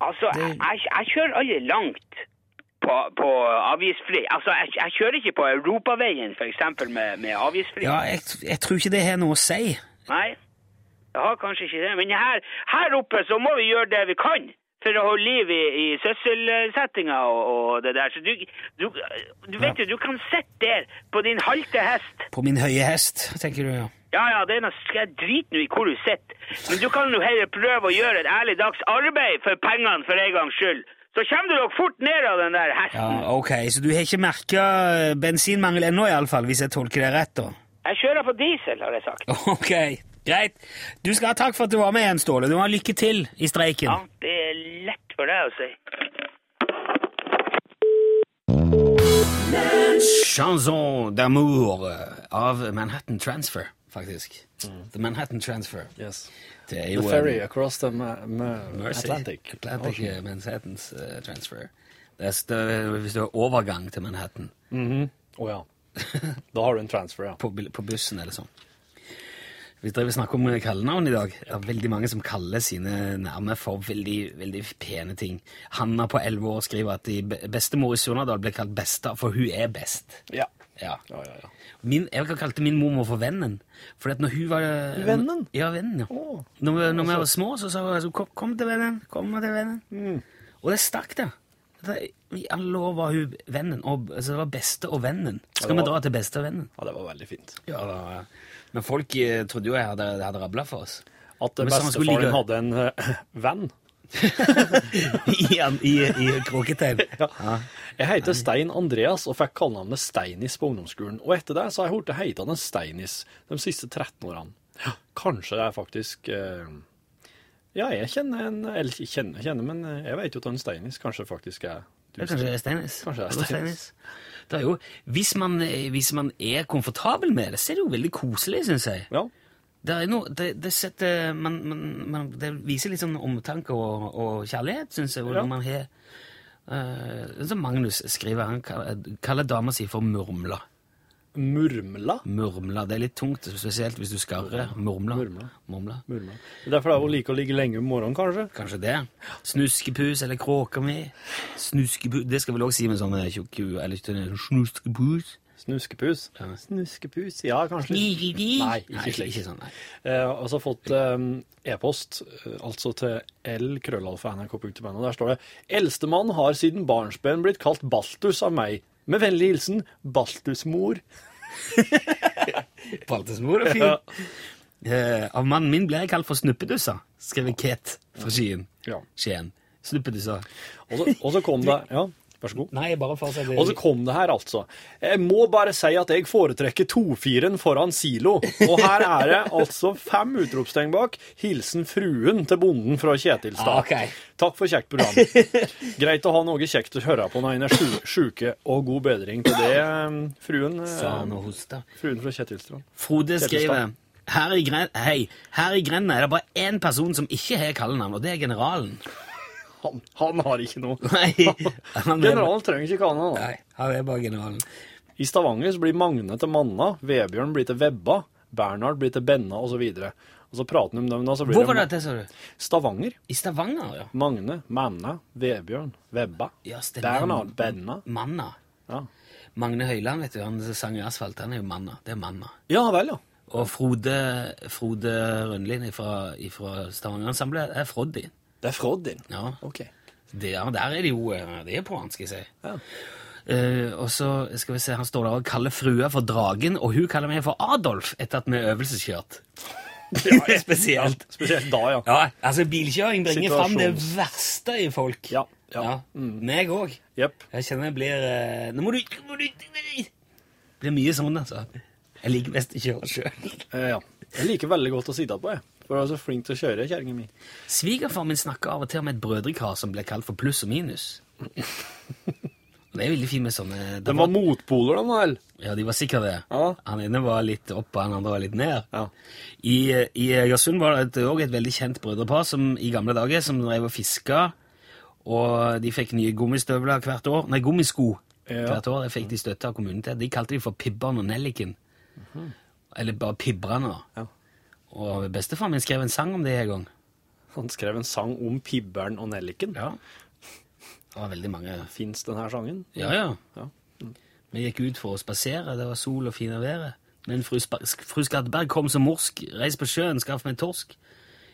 Speaker 7: Altså,
Speaker 2: Det-
Speaker 7: jeg, jeg- jeg kjører aldri langt på, på avgiftsfri. Altså, jeg, jeg kjører ikke på Europaveien, for eksempel, med, med avgiftsfri.
Speaker 2: ja jeg, jeg tror ikke det har noe å si.
Speaker 7: Nei, jeg har kanskje ikke det. Men her, her oppe så må vi gjøre det vi kan for å holde liv i, i sysselsettinga og, og det der. Så du, du, du vet jo, du kan sitte der på din halte hest.
Speaker 2: På min høye hest, tenker du, ja.
Speaker 7: Ja, ja, det er noe, skal jeg drite nå i hvor du sitter. Men du kan jo heller prøve å gjøre et ærlig dags arbeid for pengene for en gangs skyld. Så kommer du nok fort ned av den der
Speaker 2: Ja,
Speaker 7: hesten.
Speaker 2: Ok, så du har ikke merka bensinmangel ennå, iallfall, hvis jeg tolker det rett, da?
Speaker 7: Jeg kjører på diesel, har jeg sagt.
Speaker 2: Ok, greit. Du skal ha takk for at du var med igjen, Ståle. Du må ha lykke til i streiken.
Speaker 7: Ja, det er lett for deg å si.
Speaker 2: Chanson d'amour eh, av Manhattan Transfer, faktisk. The Manhattan Transfer.
Speaker 6: Yes.
Speaker 2: Det er
Speaker 6: Mm. The
Speaker 2: jo
Speaker 6: ferry
Speaker 2: en
Speaker 6: across the ma- ma-
Speaker 2: Mercy.
Speaker 6: Atlantic.
Speaker 2: Atlantic
Speaker 6: Ocean.
Speaker 2: eh, Manhattans eh, transfer. Det er større, hvis det er overgang til Manhattan
Speaker 6: Å ja. Da har du en transfer, ja.
Speaker 2: på, bil- på bussen eller sånn. Vi driver og snakker om eh, kallenavn i dag. Det er veldig mange som kaller sine nærme for veldig, veldig pene ting. Hanna på 11 år skriver at de be- bestemor i Surnadal ble kalt besta, for hun er best.
Speaker 6: Ja.
Speaker 2: Ja.
Speaker 6: Ja, ja, ja.
Speaker 2: Min, jeg kalte min mormor for vennen. Fordi at når hun var...
Speaker 6: Vennen?
Speaker 2: Ja, vennen, ja.
Speaker 6: Å.
Speaker 2: Når, vi- når vi var små, så sa hun altså, kom, kom til vennen, kom til vennen.
Speaker 6: Mm.
Speaker 2: Og det stakk det. Det- I alle år var hun vennen, og, altså det var beste og vennen. Skal
Speaker 6: det
Speaker 2: vi
Speaker 6: var-
Speaker 2: dra til beste og vennen?
Speaker 6: Ja, det var veldig fint.
Speaker 2: Ja, da, ja. Men folk eh, trodde jo jeg hadde, jeg hadde rablet for oss.
Speaker 6: At
Speaker 2: Men så han skulle
Speaker 6: bestefaren
Speaker 2: ligge-
Speaker 6: hadde en eh, venn.
Speaker 2: I, an- i, i kroketegn. Ja.
Speaker 6: Jeg heter Stein Andreas og fikk kallenavnet Steinis på ungdomsskolen. Og etter det så har jeg hørt det heitende Steinis de siste 13 årene. Ja, Kanskje det er faktisk eh, Ja, jeg kjenner en Eller ikke kjenner, kjenner, men eh, jeg vet jo at han Steinis kanskje faktisk er du.
Speaker 2: Det er kanskje Steinis.
Speaker 6: Kanskje det er
Speaker 2: Hallo,
Speaker 6: Steinis.
Speaker 2: Det er jo, hvis, man, eh, hvis man er komfortabel med det, så er det jo veldig koselig, synes jeg.
Speaker 6: Ja.
Speaker 2: Det, er noe, det, det, setter, man, man, man, det viser litt sånn omtanke og, og kjærlighet, synes jeg. og
Speaker 6: Ja.
Speaker 2: Når man har, eh, som Magnus skriver, han kaller, kaller dama si for murmla.
Speaker 6: Murmla.
Speaker 2: Murmla, Det er litt tungt, spesielt hvis du skarrer. Murmla.
Speaker 6: Murmla.
Speaker 2: Murmla.
Speaker 6: Murmla. Det er Derfor er hun liker å ligge lenge om morgenen, kanskje.
Speaker 2: Kanskje det. Snuskepus eller kråka mi. Snuskepus, Det skal vel også si med sånne tjukke eller sånne Snuskepus.
Speaker 6: Snuskepus. Snuskepus, ja, kanskje. Nei, ikke
Speaker 2: Nei,
Speaker 6: slik.
Speaker 2: ikke sånn, nei.
Speaker 6: Eh, og så har jeg fått eh, e-post, eh, altså til lkrøllalfa.nrk.no. Der står det Eldstemann har siden barnsben blitt kalt Baltus av meg. Med vennlig hilsen Baltusmor.
Speaker 2: Baltesmor er fin.
Speaker 6: Ja.
Speaker 2: Eh, av mannen min ble jeg kalt for snuppedussa, skriver Ket fra Skien.
Speaker 6: Ja.
Speaker 2: Skien. Snuppedussa.
Speaker 6: Og så- og så kom det Ja, vær så god.
Speaker 2: Nei, bare for å si det.
Speaker 6: Og så kom det her, altså. Jeg må bare si at jeg foretrekker 2-4-en foran silo. Og her er det altså fem utropstegn bak. Hilsen fruen til bonden fra Kjetilstad.
Speaker 2: Ah, ok.
Speaker 6: Takk for kjekt program. Greit å ha noe kjekt å høre på når en er sju- sjuke, og god bedring til det, eh, fruen, eh,
Speaker 2: Sa han og hosta.
Speaker 6: fruen fra Kjetilstad.
Speaker 2: Frode
Speaker 6: Kjetilstad.
Speaker 2: skriver her i, gren Hei, her i grenda er det bare én person som ikke har kallenavn, og det er generalen.
Speaker 6: Han, han har ikke noe.
Speaker 2: Nei, han er-
Speaker 6: Generalen trenger ikke kalle han. da.
Speaker 2: Nei, han er bare generalen.
Speaker 6: I Stavanger så blir Magne til Manna, Vebjørn blir til Vebba, Bernhard blir til Benna, osv. Og, så videre. Og så prater de om dem, da, så blir
Speaker 2: Hvor var
Speaker 6: de
Speaker 2: dette, sa du?
Speaker 6: Stavanger.
Speaker 2: I Stavanger, ja.
Speaker 6: Magne, Manna, Vebjørn, Vebba,
Speaker 2: Ja, stemmer.
Speaker 6: Bernhard, Benna.
Speaker 2: Manna.
Speaker 6: Ja.
Speaker 2: Magne Høiland, vet du, han som sang i Asfalt, han er jo Manna. Det er Manna.
Speaker 6: ja vel, ja.
Speaker 2: Og Frode, Frode Rønlin fra Stavanger-ensemblet er Froddy.
Speaker 6: Det er Froddin.
Speaker 2: Ja,
Speaker 6: Ok.
Speaker 2: det, ja, der er det jo eh, Det er på han, skal jeg si.
Speaker 6: Ja.
Speaker 2: Eh, og så skal vi se, Han står der og kaller frua for Dragen, og hun kaller meg for Adolf etter at vi er øvelseskjørt. Det er Spesielt.
Speaker 6: Spesielt da, ja.
Speaker 2: Ja, altså Bilkjøring bringer fram det
Speaker 6: Situasjons-
Speaker 2: verste i folk.
Speaker 6: Ja, ja. Mm.
Speaker 2: Meg òg.
Speaker 6: Jepp.
Speaker 2: Jeg kjenner jeg blir eh, Nå må du, nå må du Det blir mye sånn, altså. Jeg liker best å kjøre sjøl.
Speaker 6: Eh, ja. Jeg liker veldig godt å sitte på, jeg. For jeg er så flink til å kjøre, kjerringa mi.
Speaker 2: Svigerfaren min snakker av og til om et brødrekar som blir kalt for pluss og minus. Og det er veldig fint med sånne det
Speaker 6: De
Speaker 2: var-
Speaker 6: var motpoler, de, vel?
Speaker 2: Ja, de var sikkert det.
Speaker 6: Ja.
Speaker 2: Han ene var litt opp, og han andre var litt ned.
Speaker 6: Ja.
Speaker 2: I, I Egersund var det et- også et veldig kjent brødrepar som, i gamle dager som drev og fiska. Og de fikk nye gummistøvler hvert år. Nei, gummisko
Speaker 6: Ja.
Speaker 2: hvert år. Det fikk de støtte av kommunen til. De kalte de for Pibberen og Nelliken. Eller bare Pibrene.
Speaker 6: Mhm. Ja.
Speaker 2: Og bestefaren min skrev en sang om det en gang.
Speaker 6: Han skrev en sang om Pibberen og Nelliken.
Speaker 2: Ja. Det var veldig mange
Speaker 6: Fins den her sangen?
Speaker 2: Ja, ja.
Speaker 6: Ja.
Speaker 2: Vi gikk ut for å spasere, det var sol og fine været. Men fru, Spa- fru Skatteberg kom som morsk, reis på sjøen, skaff meg torsk.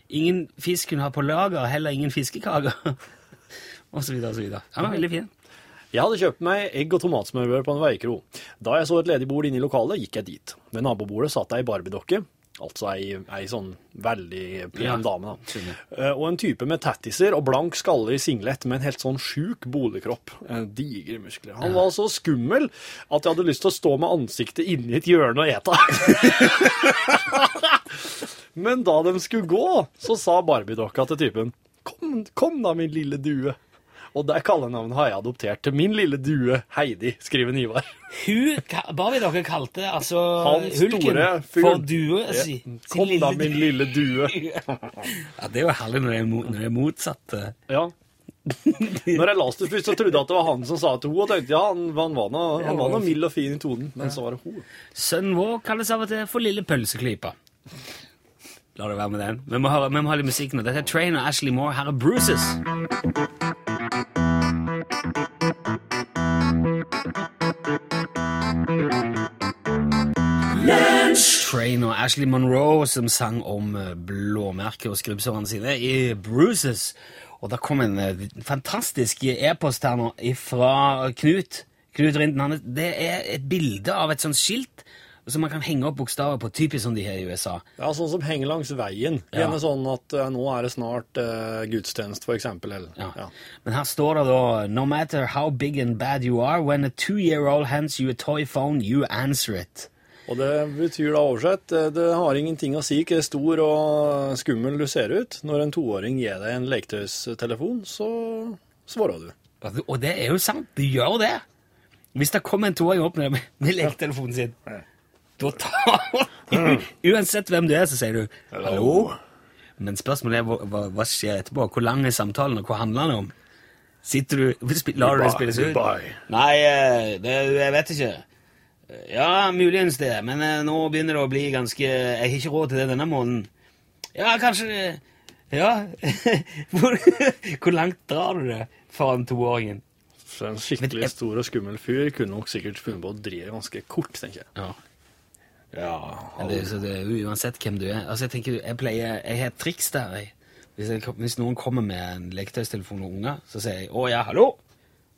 Speaker 2: Ingen fisk hun har på lager, heller ingen fiskekaker. og så videre og så videre. Han var veldig fin.
Speaker 6: Jeg hadde kjøpt meg egg og tomatsmørbrød på en veikro. Da jeg så et ledig bord inne i lokalet, gikk jeg dit. Ved nabobordet satt ei barbiedokke, altså ei, ei sånn veldig pen
Speaker 2: Ja,
Speaker 6: dame, da.
Speaker 2: skjønner.
Speaker 6: Eh, Og en type med tattiser og blank skalle i singlet med en helt sånn sjuk boligkropp. Eh, Digre muskler. Han var så skummel at jeg hadde lyst til å stå med ansiktet inni et hjørne og ete. Men da de skulle gå, så sa barbiedokka til typen Kom, kom da, min lille due. Og det kallenavnet har jeg adoptert til min lille due Heidi, skriver Ivar.
Speaker 2: Hun, ka- bare vi dere kalte altså
Speaker 6: Han
Speaker 2: hulken
Speaker 6: store fyren.
Speaker 2: for due si, sin
Speaker 6: Kom
Speaker 2: lille
Speaker 6: da, min lille due.
Speaker 2: Ja, Det er jo herlig når det er, mo- når det er motsatt. eh.
Speaker 6: Ja. Når jeg leste det først, så trodde jeg at det var han som sa det til henne, og tenkte ja, han, han var nå han var nå mild og fin i tonen, men så var det hun.
Speaker 2: Sønnen vår kalles av og til for Lille Pølseklypa. La det være med den. Vi må, høre, vi må ha litt musikk nå. Dette er Train og Ashley Moore. Her er Bruises. Train og Ashley Monroe som sang om eh, blåmerker og skrubbsårene sine i Bruises. Og det kom en eh, fantastisk e-post her nå fra Knut. Knut Rinden, han, er- det er et bilde av et sånt skilt som man kan henge opp bokstaver på, typisk som de har i USA.
Speaker 6: Ja, sånn som henger langs veien.
Speaker 2: Ja.
Speaker 6: Gjerne sånn at eh, nå er det snart eh, gudstjeneste, for eksempel. Eller,
Speaker 2: Ja.
Speaker 6: ja.
Speaker 2: Men her står det da No matter how big and bad you are, when a two-year-old hands you a toy phone, you answer it.
Speaker 6: Og det betyr da oversett, eh, det har ingenting å si hvor stor og skummel du ser ut. Når en toåring gir deg en leketøystelefon, så svarer du.
Speaker 2: Og det- Og det er jo sant. De gjør det. Hvis det kommer en toåring opp med, med leketelefonen sin, da tar han Uansett hvem du er, så sier du hallo. Men spørsmålet er hva, hva- hva skjer etterpå? Hvor lang er samtalen, og hva handler den om? Sitter du spi- Lar du det spilles ut? Nei, eh, det, jeg vet ikke. Ja, muligens det, men eh, nå begynner det å bli ganske Jeg har ikke råd til det denne måneden. Ja, kanskje det- Ja. Hvor, hvor langt drar du det foran toåringen?
Speaker 6: Så en skikkelig stor og skummel fyr kunne nok sikkert funnet på å drive ganske kort, tenker jeg.
Speaker 2: Ja.
Speaker 6: Ja,
Speaker 2: Men Det, så det er jo uansett hvem du er. Altså, jeg tenker, jeg pleier, jeg har et triks der. Jeg. Hvis, jeg, kom- hvis noen kommer med en leketøystelefon og unger, så sier jeg 'Å ja, hallo'.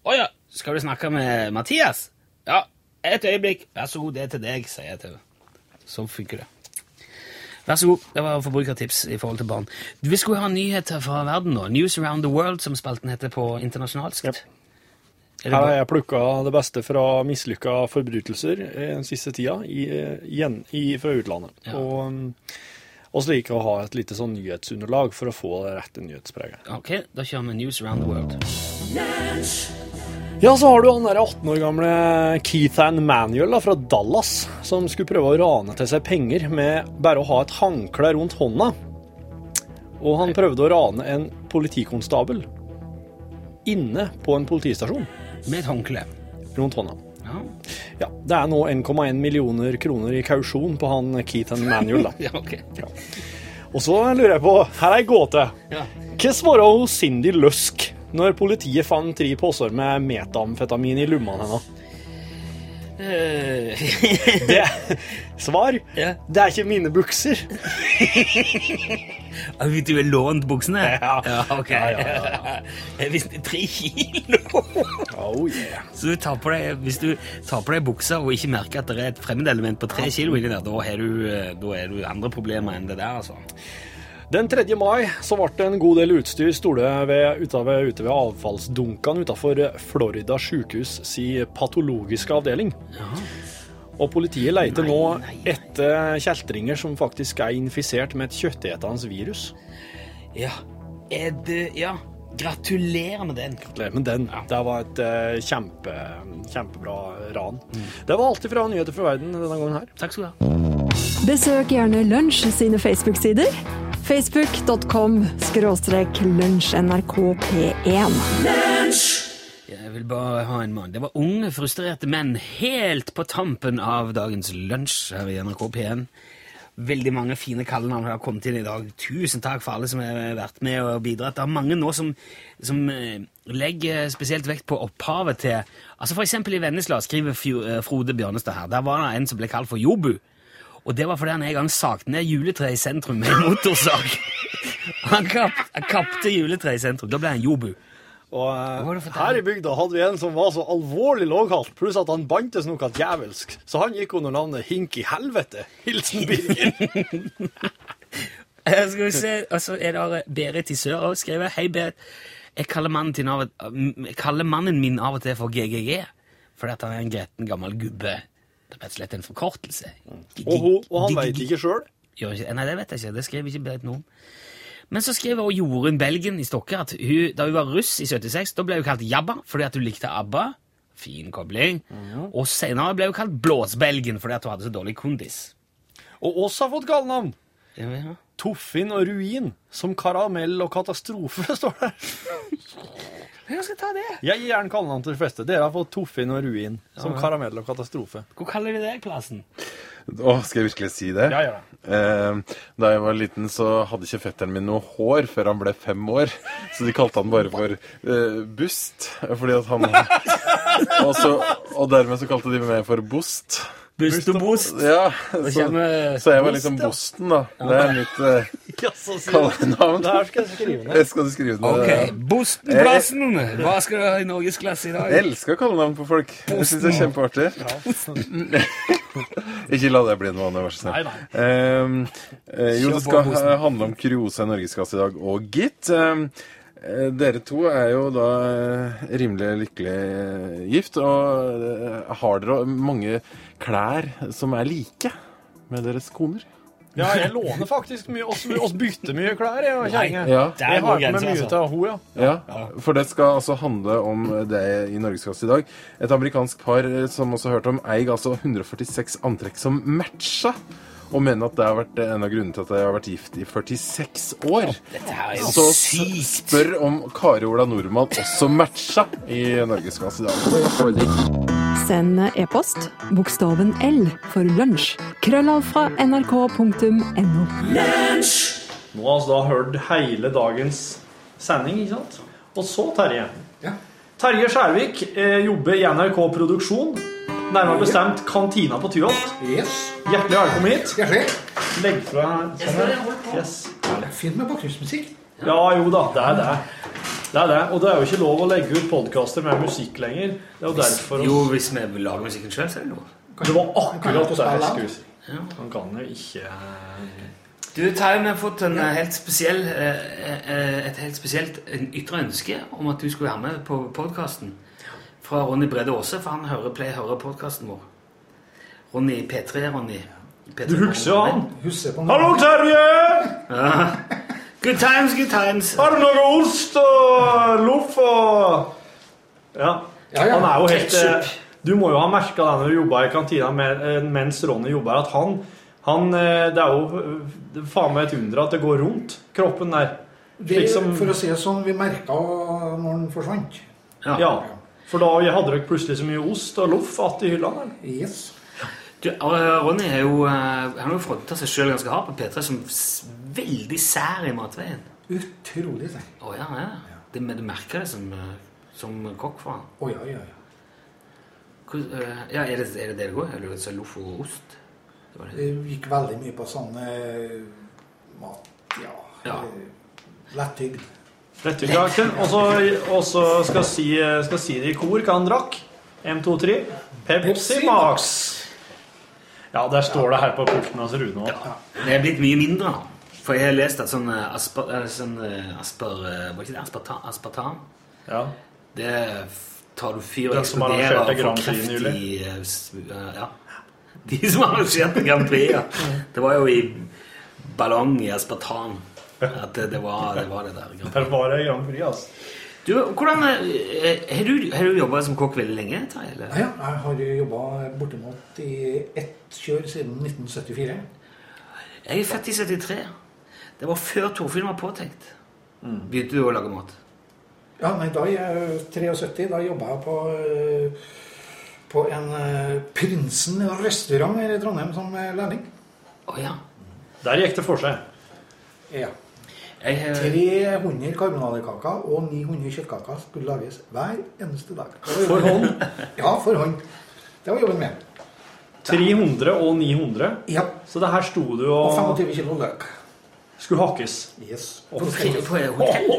Speaker 2: 'Å ja, skal du snakke med Mathias?' 'Ja, et øyeblikk. Vær så god, det er til deg', sier jeg til henne. Sånn funker det. Vær så god. Det var forbrukertips i forhold til barn. Du, Vi skulle ha nyheter fra verden nå. News Around the World, som spalten heter på internasjonalsk. Er det
Speaker 6: Her har
Speaker 2: bra?
Speaker 6: jeg plukka det beste fra mislykka forbrytelser eh, den siste tida i, eh, igjen, i, fra utlandet.
Speaker 2: Ja.
Speaker 6: Og mm, også liker å ha et lite sånn nyhetsunderlag for å få det rette nyhetspreget.
Speaker 2: Ok, da kjører vi News Around the World.
Speaker 6: Ja, så har du han der 18 år gamle Keithan Manuel da, fra Dallas, som skulle prøve å rane til seg penger med bare å ha et håndkle rundt hånda. Og han prøvde å rane en politikonstabel inne på en politistasjon
Speaker 2: Med et håndkle.
Speaker 6: rundt hånda.
Speaker 2: Ja.
Speaker 6: Ja, det er nå 1,1 millioner kroner i kausjon på han Keith Emanuel, da.
Speaker 2: ja, ok.
Speaker 6: Og så lurer jeg på, her er ei gåte.
Speaker 2: Ja.
Speaker 6: Hva svarer hun Cindy Løsk når politiet fant tre poser med metamfetamin i lommene hennes?
Speaker 2: Eh,
Speaker 6: Det Svar?
Speaker 2: Ja.
Speaker 6: Det er ikke mine bukser.
Speaker 2: Ah, du har lånt buksene?
Speaker 6: Ja.
Speaker 2: ok.
Speaker 6: Ja, ja, ja,
Speaker 2: Jeg visste tre kilo!
Speaker 6: Oh yeah.
Speaker 2: Så du tar på deg, hvis du tar på deg buksa og ikke merker at det er et fremmedelement på tre kilo inni der, da har du, eh, da er du andre problemer enn det der, altså.
Speaker 6: Den 3. mai så ble det en god del utstyr stole ved, ute, ved, ute ved avfallsdunkene utenfor Florida sykehus si patologiske avdeling. Og politiet leter nå etter kjeltringer som faktisk er infisert med et kjøttetende virus.
Speaker 2: Ja. Er det Ja. Gratulerer med den.
Speaker 6: Gratulerer med den. Det var et eh, kjempe, kjempebra ran. Det var alt fra nyheter fra verden denne gangen her.
Speaker 2: Takk skal du ha.
Speaker 8: Besøk gjerne Lunsj sine Facebook-sider. Facebook.com skråstrek lunsjnrkp1.
Speaker 2: Jeg vil bare ha en mann. Det var unge, frustrerte menn helt på tampen av dagens lunsj her i NRK P1. Veldig mange fine kallenavn har kommet inn i dag. Tusen takk for alle som har vært med og bidratt. Det er mange nå som, som eh, legger spesielt vekt på opphavet til Altså For eksempel i Vennesla skriver Fjo- eh, Frode Bjørnestad her. Der var det en som ble kalt for Jobu. Og det var fordi han en gang sagte ned juletreet i sentrum med en motorsag. Han kap, kapte juletreet i sentrum. Da ble han Jobu.
Speaker 6: Og
Speaker 2: var
Speaker 6: eh,
Speaker 2: det for
Speaker 6: her i bygda hadde vi en som var så alvorlig låghalt, pluss at han bantes noe djevelsk. Så han gikk under navnet Hink i helvete. Hilsen Birger.
Speaker 2: Eh, Skal vi se, og så er det Berit i sør også skrevet. Hei, Berit. Jeg kaller mannen, din av, og- jeg kaller mannen min av og til for GGG, fordi at han er en gretten gammel gubbe. Det er rett og slett en forkortelse.
Speaker 6: Og, hun- og han
Speaker 2: Digg-
Speaker 6: veit ikke sjøl.
Speaker 2: Gjør ikke, nei, det vet jeg ikke. Det skrev ikke Berit noe om. Men så skrev også Jorunn Belgen i Stokke at hun, da hun var russ i 76, da ble hun kalt Jabba fordi at hun likte ABBA. Fin kobling.
Speaker 6: Mhm.
Speaker 2: Og senere ble hun kalt Blåsbelgen fordi at hun hadde så dårlig kondis.
Speaker 6: Og oss har fått kallenavn.
Speaker 2: Ja,
Speaker 6: Toffin og ruin. Som karamell og katastrofe, står det.
Speaker 2: Jeg skal ta det.
Speaker 6: Jeg gir gjerne kallenavn til de fleste. Dere har fått Toffin og ruin. Som karamell og katastrofe.
Speaker 2: Hvor kaller de deg, Plassen?
Speaker 9: Åh, skal jeg virkelig si det?
Speaker 6: Ja, ja.
Speaker 9: Eh, da jeg var liten, så hadde ikke fetteren min noe hår før han ble fem år. Så de kalte han bare for eh, Bust. Fordi at han og, så, og dermed så kalte de meg for Bost.
Speaker 2: Bust og bost.
Speaker 9: Ja, så,
Speaker 2: kommer
Speaker 9: så jeg var liksom Bosten, da. Det er mitt uh,
Speaker 6: Jaså, sier du.
Speaker 9: kallenavn.
Speaker 6: Det her skal jeg skrive ned.
Speaker 9: Jeg skal du skrive ned.
Speaker 2: Ok,
Speaker 1: Eh,
Speaker 2: Bostenplassen! Hva skal du ha i norgesklasse i
Speaker 9: Jeg
Speaker 2: dag?
Speaker 9: elsker kallenavn på folk. Jeg syns det er kjempeartig. Ikke la det bli en vane, vær så snill. Ehm, eh, jo, det skal eh, handle om kuriosa i Norgeskasse i dag, og gitt. ehm, eh, dere to er jo da eh, rimelig lykkelig eh, gift, og eh, har dere mange klær som er like med deres koner?
Speaker 6: Ja, jeg låner faktisk mye. Oss, oss bytter mye klær, jeg og kjerringa.
Speaker 9: Ja.
Speaker 2: Der
Speaker 6: Jeg
Speaker 2: går
Speaker 6: har med
Speaker 2: grensen,
Speaker 6: mye
Speaker 2: altså.
Speaker 6: til
Speaker 5: hein.
Speaker 6: hun, ja.
Speaker 9: Ja, for det skal altså handle om det i Norgesklasse i dag. Et amerikansk par eh, som også hørte om, eier altså 146 antrekk som matcha. Og mener at det har vært en av grunnene til at jeg har vært gift i 46 år.
Speaker 2: Dette her er jo
Speaker 9: Så s-
Speaker 2: sykt!
Speaker 9: spør om Kari Ola Nordmann også matcha i Norgesklasse i dag.
Speaker 8: Send e-post bokstaven L for lunsj. Krøllalfra nrk.no.
Speaker 1: Nå har vi da hørt hele dagens sending, ikke sant? Og så Terje. Terje Skjærvik eh, jobber i NRK Produksjon, nærmere bestemt Kantina på Tyholt.
Speaker 10: Yes.
Speaker 1: Hjertelig velkommen hit.
Speaker 10: Skal jeg se?
Speaker 1: Legg fra sånn her. Yes.
Speaker 10: Det er fint med bakgrunnsmusikk.
Speaker 1: Ja, jo da, det er det. Det er det, og det er jo ikke lov å legge ut podkaster med musikk lenger. Det er jo derfor
Speaker 2: Jo, hvis vi vil lage musikken sjøl, så er det lov.
Speaker 1: Det var
Speaker 10: Kan jeg
Speaker 1: akkurat
Speaker 10: få
Speaker 1: det
Speaker 10: spille
Speaker 1: jeg
Speaker 10: den?
Speaker 1: skulle si. Han kan jo ikke
Speaker 2: Du, Terje, vi har fått en eh, helt spesiell, eh, eh, et helt spesielt en ytre ønske om at du skulle være med på podkasten. Fra Ronny Brede Aase, for han hører Play hører podkasten vår. Ronny P3, Ronny. P3,
Speaker 1: Du husker jo han.
Speaker 10: Husker på
Speaker 1: Hallo, Terje!
Speaker 2: Good times, good times!
Speaker 1: Har du noe ost og loff og Ja.
Speaker 10: Ja, ja.
Speaker 1: Han er jo helt eh,
Speaker 2: Ketchup.
Speaker 1: Du må jo ha merka det når du jobba i kantina med, eh, mens Ronny jobba, at han, han eh, Det er jo eh, det er faen meg et under at det går rundt kroppen der. Liksom,
Speaker 10: Vi,
Speaker 1: Slik som
Speaker 10: For å si det sånn, vi merka når den forsvant.
Speaker 1: Ja. For da hadde dere plutselig så mye ost og loff att i hyllene. eller?
Speaker 10: Yes.
Speaker 2: Du, eh, Ronny er jo, eh, han har jo fronta seg sjøl ganske hardt på P3 som s- veldig sær i matveien.
Speaker 9: Utrolig sær.
Speaker 2: Å ja, ja. Det, men du merker det som, eh, som kokk for han.
Speaker 9: Å ja, ja, ja.
Speaker 2: Hvor, eh, ja, er det er det, det det går? Eller så loff og ost? Det var det.
Speaker 9: Det gikk veldig mye på sånn eh, mat Ja.
Speaker 2: Ja.
Speaker 9: eh, Lettygd.
Speaker 1: Rettekaken. Og så- Og så skal, si, eh, skal si det i kor hva han drakk. M23. Pepsi Max. Ja, der står det her på pulten hans Rune òg.
Speaker 2: Det er blitt mye mindre nå. For jeg har lest at sånn eh, asper... eh, Sånn eh, asper... eh, Var ikke det aspartan? aspartan?
Speaker 1: Ja.
Speaker 2: Det f- tar du fyr og
Speaker 1: Den som
Speaker 2: eksploderer og
Speaker 1: arrangerte
Speaker 2: får
Speaker 1: Grand Prix
Speaker 2: kreft i
Speaker 1: nylig.
Speaker 2: eh, s- eh, Ja. De som arrangerte Grand Prix, ja. Det var jo i ballong i aspartan at det, det, var, det var det der. Grand Prix.
Speaker 1: Der var det Grand Prix, altså.
Speaker 2: Du, hvordan, eh, har du, har du jobba som kokk veldig lenge? Terje, Eller?
Speaker 9: Ja, ja, jeg har jobba bortimot i ett kjør siden 1974.
Speaker 2: Jeg er født i 73. Det var før Torfinn var påtenkt. Begynte du å lage mat?
Speaker 9: Ja, nei, da er jeg 73. Da jobba jeg på eh, på en eh, Prinsen restaurant her i Trondheim som eh, lærling.
Speaker 2: Å ja.
Speaker 1: Der gikk det for seg.
Speaker 9: Ja.
Speaker 2: Jeg, har-
Speaker 9: 300 karbonadekaker og 900 kjøttkaker skulle lages hver eneste dag.
Speaker 1: For hånd
Speaker 9: Ja, for hånd. Det var jobben min.
Speaker 1: 300 og 900.
Speaker 9: Ja.
Speaker 1: Så det her sto du
Speaker 9: Og
Speaker 1: og
Speaker 9: 25 kilo løk.
Speaker 1: skulle hakkes.
Speaker 9: Yes.
Speaker 2: på, fri- på hotell.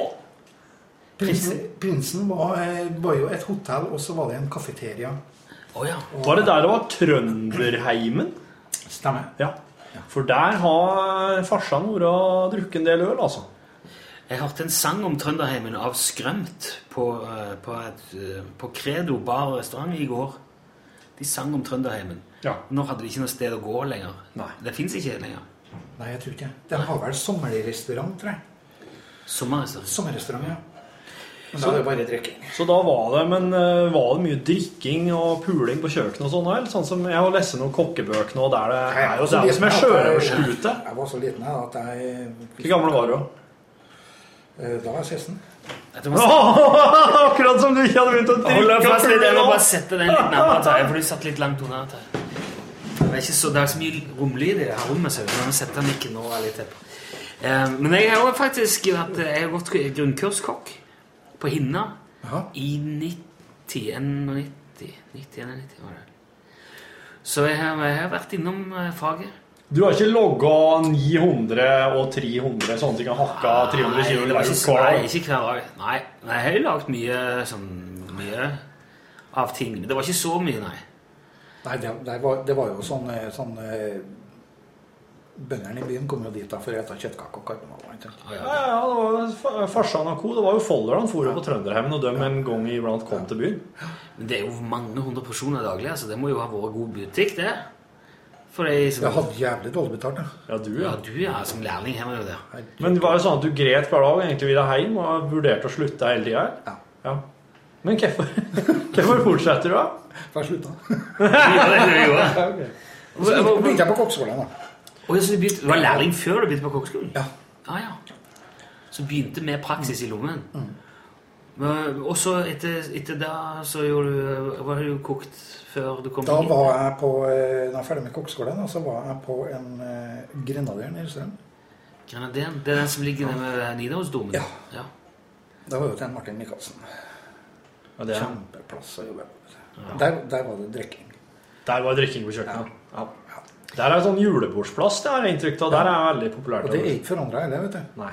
Speaker 9: Prinsen, Prinsen var, eh, var jo et hotell, og så var det en kafeteria.
Speaker 2: Å ja.
Speaker 1: Var det der det var Trønderheimen?
Speaker 9: Stemmer.
Speaker 1: Ja. For der har farsan vært og drukket en del øl, altså.
Speaker 2: Jeg hørte en sang om Trønderheimen av Skrømt på, eh, på, et, eh, på Credo bar og restaurant i går. De sang om Trønderheimen.
Speaker 1: Ja.
Speaker 2: Nå hadde de ikke noe sted å gå lenger.
Speaker 1: Nei.
Speaker 2: Det fins ikke lenger.
Speaker 9: Nei, jeg tror ikke Den har vel sommerrestaurant, tror jeg.
Speaker 2: Sommerrestaurant.
Speaker 9: Sommerrestaurant, ja. Men da er det bare drikking.
Speaker 1: Så da var det, men eh, var det mye drikking og puling på kjøkkenet og sånn? eller? Sånn som Jeg har lest noen kokkebøker nå der det er jo det er jo som er
Speaker 2: eh,
Speaker 1: sjørøverskute.
Speaker 9: Jeg var så liten jeg, at jeg
Speaker 1: Hvor gammel var du?
Speaker 9: Eh, Da var jeg 16.
Speaker 2: Jeg må
Speaker 1: Akkurat som du ikke hadde begynt å
Speaker 2: Hold deg fast litt, jeg må bare
Speaker 1: drikke!
Speaker 2: sette den litt nærmere, Terje, for du satt litt langt unna. Terje. Det er ikke så, det er så mye romlyd i det her rommet, så vi må sette mikken nå litt til. Eh, Men jeg har jo faktisk vært, jeg har gått grunnkurskokk på Hinna
Speaker 9: Jaha.
Speaker 2: i 90, 91, 90, 91 var det. Så jeg har, jeg har vært innom eh, faget.
Speaker 1: Du har ikke logga 900 og 300, sånn at du kan hakka 300 kilo
Speaker 2: Nei, det var
Speaker 1: løk
Speaker 2: ikke-
Speaker 1: hver
Speaker 2: Nei,
Speaker 1: dag?
Speaker 2: ikke hver dag. Nei, nei, jeg har lagt mye, sånn, mye av ting. Men det var ikke så mye, nei.
Speaker 9: Nei, det, det, var, det var jo sånn, eh, sånn eh, Bøndene i byen kom jo dit da for å spise kjøttkake og karbonader.
Speaker 2: Å, ja.
Speaker 1: Ja, ja, det var jo fa- farsan og co. Det var jo Folder han for jo på Trønderheimen, og dem en gang iblant kom til byen.
Speaker 2: Men det er jo mange hundre porsjoner daglig, altså det må jo ha vært god butikk, det. For det er som,
Speaker 9: Jeg hadde jævlig dårlig betalt. da.
Speaker 1: Ja, du,
Speaker 2: ja,
Speaker 1: ja.
Speaker 2: du ja, som lærling har man jo det.
Speaker 1: Men var det sånn at du gret hver dag og egentlig ville hjem og vurderte å slutte hele tida?
Speaker 9: Ja.
Speaker 1: Ja. Men hvorfor hvorfor fortsetter du, da?
Speaker 9: For jeg slutta.
Speaker 2: Ja, det, det, gjorde jeg.
Speaker 9: Så begynte jeg på kokkeskolen, da.
Speaker 2: Å, ja, så du, begynte, du var lærling før du begynte på kokkeskolen?
Speaker 9: Ja.
Speaker 2: Ah, ja. Så begynte med praksis i lommen. Men- Og så etter, etter da så gjorde du Hva har du kokt før du kom
Speaker 9: Da
Speaker 2: hit?
Speaker 9: var jeg på, eh, da jeg var ferdig med kokkeskolen, da, så var jeg på en eh, grenader nede i Strøm.
Speaker 2: Grenaderen. Det er den som ligger nede ved Nidarosdomen?
Speaker 9: Ja.
Speaker 2: ja.
Speaker 9: Da var jo til Martin Michaelsen.
Speaker 1: Ja, det er.
Speaker 9: Kjempeplass å jobbe på. Der, der var det drikking.
Speaker 1: Der var drikking på kjøkkenet. Ja. Der er sånn julebordsplass, det har jeg inntrykk av. Der er veldig populært.
Speaker 9: Og det er ikke forandra heller, vet du.
Speaker 1: Nei.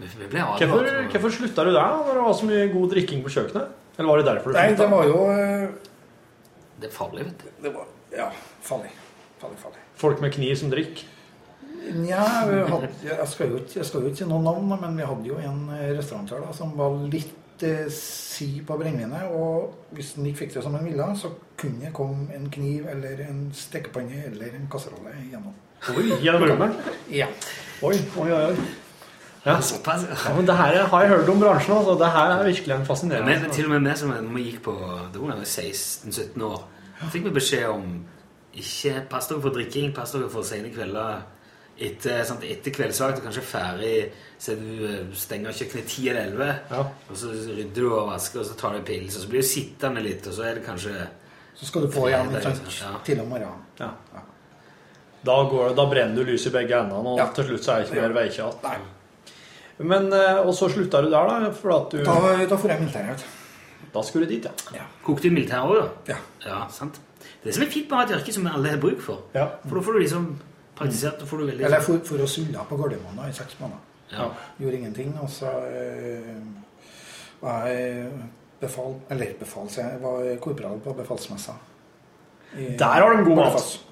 Speaker 2: Vi vi ble
Speaker 1: Hvorfor,
Speaker 2: advart. om-
Speaker 1: hvorfor slutta du der, da, når det var så mye god drikking på kjøkkenet? Eller var det derfor du
Speaker 9: Nei, det
Speaker 1: slutta?
Speaker 9: var jo eh,
Speaker 2: Det er farlig, vet du.
Speaker 9: Det var Ja, farlig. Farlig, farlig.
Speaker 1: Folk med kniv som drikk?
Speaker 9: Nja, vi hadde, jeg skal jo ikke jeg skal jo ikke si noen navn, da, men vi hadde jo en eh, restaurantør da, som var litt eh, si på brennevinet. Og hvis han ikke fikk det som han ville, så kunne det komme en kniv eller en stekepanne eller en kasserolle gjennom.
Speaker 1: Oi, gjennom rommet?
Speaker 9: Ja.
Speaker 1: Oi, oi, oi. oi. Ja.
Speaker 2: Såpass, ja.
Speaker 1: ja, men det her har jeg hørt om bransjen, altså. Det her er virkelig en fascinerende
Speaker 2: Men til og med vi som når vi gikk på do da vi var 16-17 år, fikk vi beskjed om ikke pass dere for drikking, pass dere for sene kvelder. Etter, sant, etter kveldsvakt og kanskje ferdig, så du eh, stenger kjøkkenet 10 eller 11,
Speaker 1: Ja.
Speaker 2: og så rydder du og vasker, og så tar du en pils, og så blir du sittende litt, og så er det kanskje
Speaker 9: Så skal du få igjen
Speaker 2: Det er
Speaker 9: ikke
Speaker 2: det,
Speaker 9: sant,
Speaker 2: ja.
Speaker 9: til om morgenen.
Speaker 1: Ja. Da, går det, da brenner du lyset i begge endene, og
Speaker 9: Ja.
Speaker 1: til slutt så er det ikke mer veikjatt.
Speaker 9: Nei.
Speaker 1: Men, eh, og så slutta du der, da? For at du,
Speaker 9: Da,
Speaker 1: da,
Speaker 9: da får jeg militæret.
Speaker 1: skulle du dit, ja.
Speaker 2: Kokte du militær òg, da?
Speaker 9: Ja.
Speaker 2: Ja, sant. Det er som er fint med å ha et yrke som alle har bruk for.
Speaker 1: Ja.
Speaker 2: For da får du liksom praktisert da får du veldig...
Speaker 9: Eller jeg for, for å sulle på Gardermoen da, i seks måneder.
Speaker 2: Ja.
Speaker 9: Gjorde ingenting, og så øh, var jeg befal, eller befal, så jeg var korporal på befalsmessa. I-
Speaker 1: Der har de god mat.
Speaker 9: Bardufoss.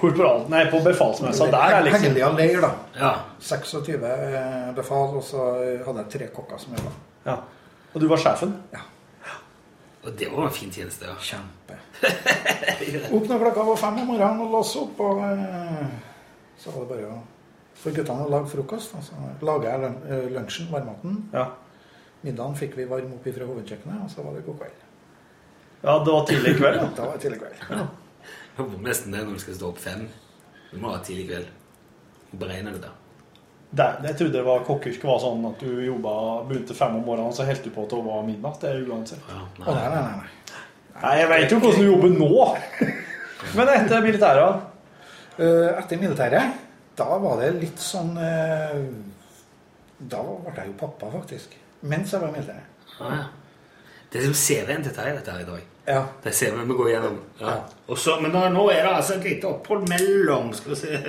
Speaker 1: Korporal, nei, på befalsmessa. Der er liksom
Speaker 9: Hellia leir, da.
Speaker 2: ja.
Speaker 9: 26 eh, befal, og så hadde jeg tre kokker som jobba.
Speaker 1: ja. Og du var sjefen?
Speaker 2: Og det var en fin tjeneste. Ja.
Speaker 9: Kjempe. Opp når klokka var fem om morgenen og låse opp, og eh, så var det bare å for guttene å lage frokost. Og så laga jeg lun- eh, lunsjen, varmmaten.
Speaker 1: Ja.
Speaker 9: Middagen fikk vi varm opp fra hovedkjøkkenet, og så var det god kveld.
Speaker 1: ja, det var tidlig i kveld. da.
Speaker 9: Da var det tidlig kveld.
Speaker 2: Jeg håper nesten det når du skal stå opp fem. Du må ha tidlig kveld. Og beregne det der.
Speaker 1: Der, jeg trodde det var kokkeyrket var sånn at du jobba, begynte fem om morgenen, så helt du på til det var midnatt. Det er uansett.
Speaker 2: Ja,
Speaker 9: Å,
Speaker 2: nei.
Speaker 9: nei, nei, nei, nei.
Speaker 1: Nei, jeg veit jo hvordan du jobber nå. Men etter militæret
Speaker 9: Eh, Etter militæret, da var det litt sånn eh, Da ble jeg jo pappa, faktisk. Mens jeg var i militæret.
Speaker 2: Ja, ja. Det er som CV-en til Terje, dette her i dag.
Speaker 9: Ja.
Speaker 2: Det er CV-en vi går gjennom. Ja. Og så, men da, nå er det altså et lite opphold mellom skal vi se.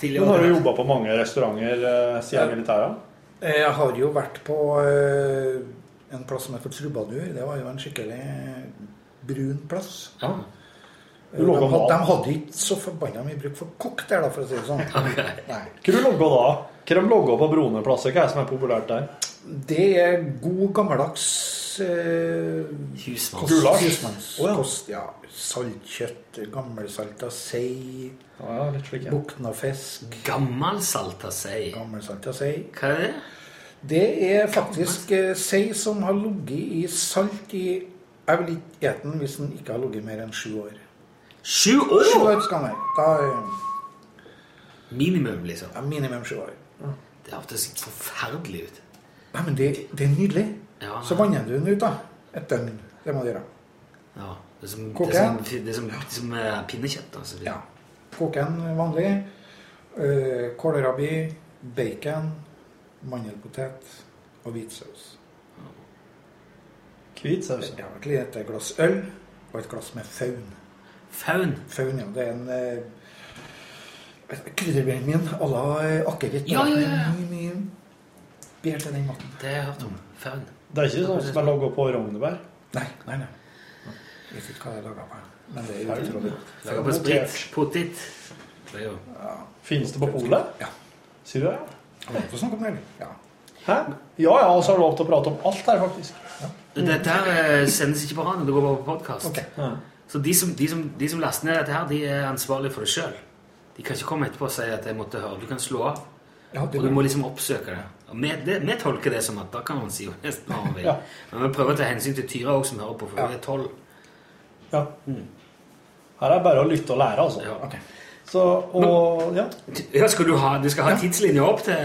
Speaker 2: Tidlig
Speaker 1: Men har du
Speaker 2: opphold.
Speaker 1: jobba på mange restauranter eh, siden militæret?
Speaker 9: Eh, Jeg har jo vært på eh, en plass som heter Trubadur. Det var jo en skikkelig brun plass.
Speaker 2: Ja.
Speaker 9: Eh,
Speaker 1: Du
Speaker 9: De
Speaker 1: laget
Speaker 9: hadde,
Speaker 1: mat.
Speaker 9: de hadde ikke så forbanna mye bruk for kokk der, da, for å si det sånn.
Speaker 2: Ok.
Speaker 9: Nei.
Speaker 1: Hva du logger da? Hva de logger på Brone plasser? Hva er det som er populært der?
Speaker 9: Det er god, gammeldags eh,
Speaker 2: Husmann.
Speaker 9: Kost,
Speaker 1: Gulasj?
Speaker 9: husmanns-
Speaker 1: Å, ja.
Speaker 9: Kost, ja. Saltkjøtt, gammelsalta sei,
Speaker 1: Ja, ja, litt slik, ja.
Speaker 9: bukna fisk.
Speaker 2: Gammel salta sei.
Speaker 9: Gammelsalta sei.
Speaker 2: Hva er det?
Speaker 9: Det er faktisk eh, sei som har ligget i salt i Jeg vil ikke ete den hvis den ikke har ligget mer enn sju år.
Speaker 2: Sju
Speaker 9: Sju
Speaker 2: år!
Speaker 9: år skal den være. Da eh,
Speaker 2: Minimum, liksom.
Speaker 9: ja, minimum sju år.
Speaker 2: Det hørtes forferdelig ut.
Speaker 9: Nei, men det, det er nydelig.
Speaker 2: Ja.
Speaker 9: Så vanner du den ut, da. Et døgn. Det må du gjøre.
Speaker 2: Ja. Det er som, det
Speaker 9: Koke?
Speaker 2: er som, det er som, det er som eh, pinnekjøtt. Altså.
Speaker 9: Ja. Koke en vanlig. eh, Kålrabi, bacon, mandelpotet og hvitsaus.
Speaker 1: Hvit saus.
Speaker 9: Jeg har egentlig et glass øl og et glass med faun.
Speaker 2: Faun.
Speaker 9: Faun, ja. Det er en eh, krydderbrennevin à la eh, akevitt.
Speaker 2: Ja, ja, ja, ja.
Speaker 9: Mye, mye bær til den maten.
Speaker 2: Det har jeg hørt om. Faun.
Speaker 1: Det er ikke sånn som er logga på Rognebær?
Speaker 9: Nei, nei, nei. Jeg vet ikke hva det er laga av. Men det er jo utrolig godt.
Speaker 2: Laga på sprit. Potet. Det er jo
Speaker 1: Finnes det på polet?
Speaker 9: Ja.
Speaker 1: Sier du det?
Speaker 9: Har vi lov til å snakke om det, eller? Ja.
Speaker 1: Hæ? Ja ja, og så har du lov til å prate om alt her, faktisk.
Speaker 2: Dette her eh, sendes ikke på radio, det går bare på podkast.
Speaker 9: Ok.
Speaker 2: Så de som, de, som, de som laster ned dette her, de er ansvarlige for det sjøl. De kan ikke komme etterpå og si at jeg måtte høre. Du kan slå av.
Speaker 9: Ja,
Speaker 2: Og
Speaker 9: det er
Speaker 2: du
Speaker 9: bra.
Speaker 2: må liksom oppsøke det. Og vi, det, vi tolker det som at da kan man si jo nesten hva man vil.
Speaker 1: Ja.
Speaker 2: Men vi prøver å ta hensyn til Tyra òg, som hører på, for hun er tolv.
Speaker 1: Ja. Her er det bare å lytte og lære, altså.
Speaker 2: Ja.
Speaker 9: Ok.
Speaker 1: Så, og ja.
Speaker 2: Ja, skal du ha, du skal ha tidslinja opp til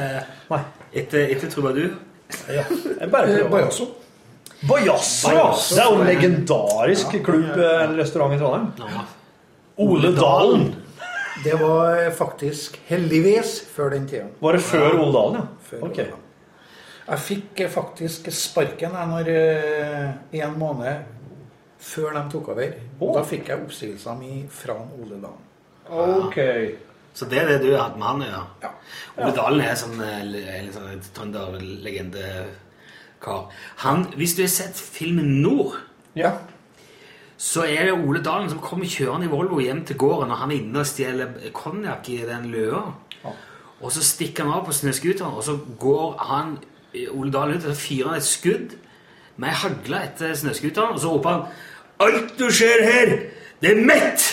Speaker 1: Nei.
Speaker 2: etter, etter Trubadur?
Speaker 1: Ja. Jeg bare
Speaker 9: Eh,
Speaker 1: prøver.
Speaker 9: Bajasso.
Speaker 1: Bajasso, ja.
Speaker 2: Bajasso.
Speaker 1: Det er jo en legendarisk klubb eh, eller restaurant i Trondheim.
Speaker 2: Ja.
Speaker 1: Ole Dalen.
Speaker 9: Det var eh, faktisk heldigvis før den tida.
Speaker 1: Var det før Ole Dalen, ja?
Speaker 9: Før
Speaker 1: Ok.
Speaker 9: Rogaland. Jeg fikk eh, faktisk sparken jeg, når, eh, en måned før de tok over.
Speaker 1: Å.
Speaker 9: Da fikk jeg oppsigelsen min fra Ole Dalen.
Speaker 1: Ok.
Speaker 2: Så det er det du har hatt med han å gjøre?
Speaker 9: Ja.
Speaker 2: Ole Dalen er sånn, eh, le- er litt sånn trønderlegende-kar. Han, hvis du har sett filmen Nord,
Speaker 1: Ja.
Speaker 2: så er det Ole Dalen som kommer kjørende i Volvo hjem til gården, og han er inne og stjeler konjakk i den løa. Og så stikker han av på snøscooteren, og så går han eh, Ole Dalen ut, og så fyrer han et skudd med ei hagle etter snøscooteren, og så roper han Alt du ser her, det er mitt!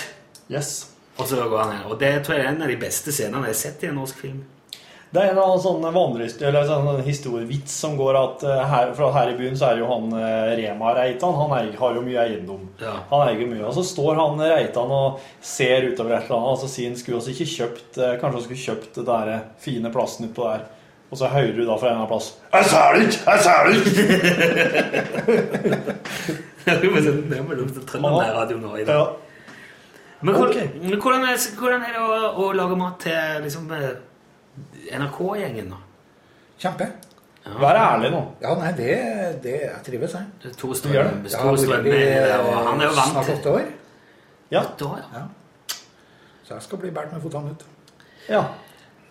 Speaker 1: Yes.
Speaker 2: Og så går han ned. Og det tror jeg er en av de beste scenene jeg har sett i en norsk film.
Speaker 1: Det er en av sånne vandrehist- eller sånn historievits som går at eh, her, fra her i byen så er jo han eh, Rema Reitan. Han eier, har jo mye eiendom.
Speaker 2: Ja.
Speaker 1: Han eier mye. Og så står han eh, Reitan og ser utover et eller annet, og så sier han skulle også ikke kjøpt eh, Kanskje han skulle kjøpt det der eh, fine plassen utpå der. Og så hører du da fra en eller annen plass Jeg ser det ikke! Jeg ser det ikke!
Speaker 2: Det er jo sånn- det er mellom
Speaker 1: Ja.
Speaker 2: Trønderradioen og i dag.
Speaker 1: Ja.
Speaker 2: Men, hvor,
Speaker 9: Ok.
Speaker 2: men hvordan, er, hvordan er det å, å lage mat til liksom, eh, NRK-gjengen, da?
Speaker 9: Kjempe.
Speaker 1: Vær ærlig nå.
Speaker 9: Ja, nei, det, det jeg trives, jeg.
Speaker 2: Det er Tor
Speaker 1: Gjør
Speaker 2: Strøm,
Speaker 1: det.
Speaker 9: Jeg
Speaker 2: Tor
Speaker 9: har vært
Speaker 2: Strøm
Speaker 9: i,
Speaker 2: er der, og han er jo vant
Speaker 9: snart
Speaker 2: til
Speaker 9: åtte år,
Speaker 1: Ja.
Speaker 2: Da, ja.
Speaker 9: så jeg skal bli båret med fotene ut.
Speaker 1: ja.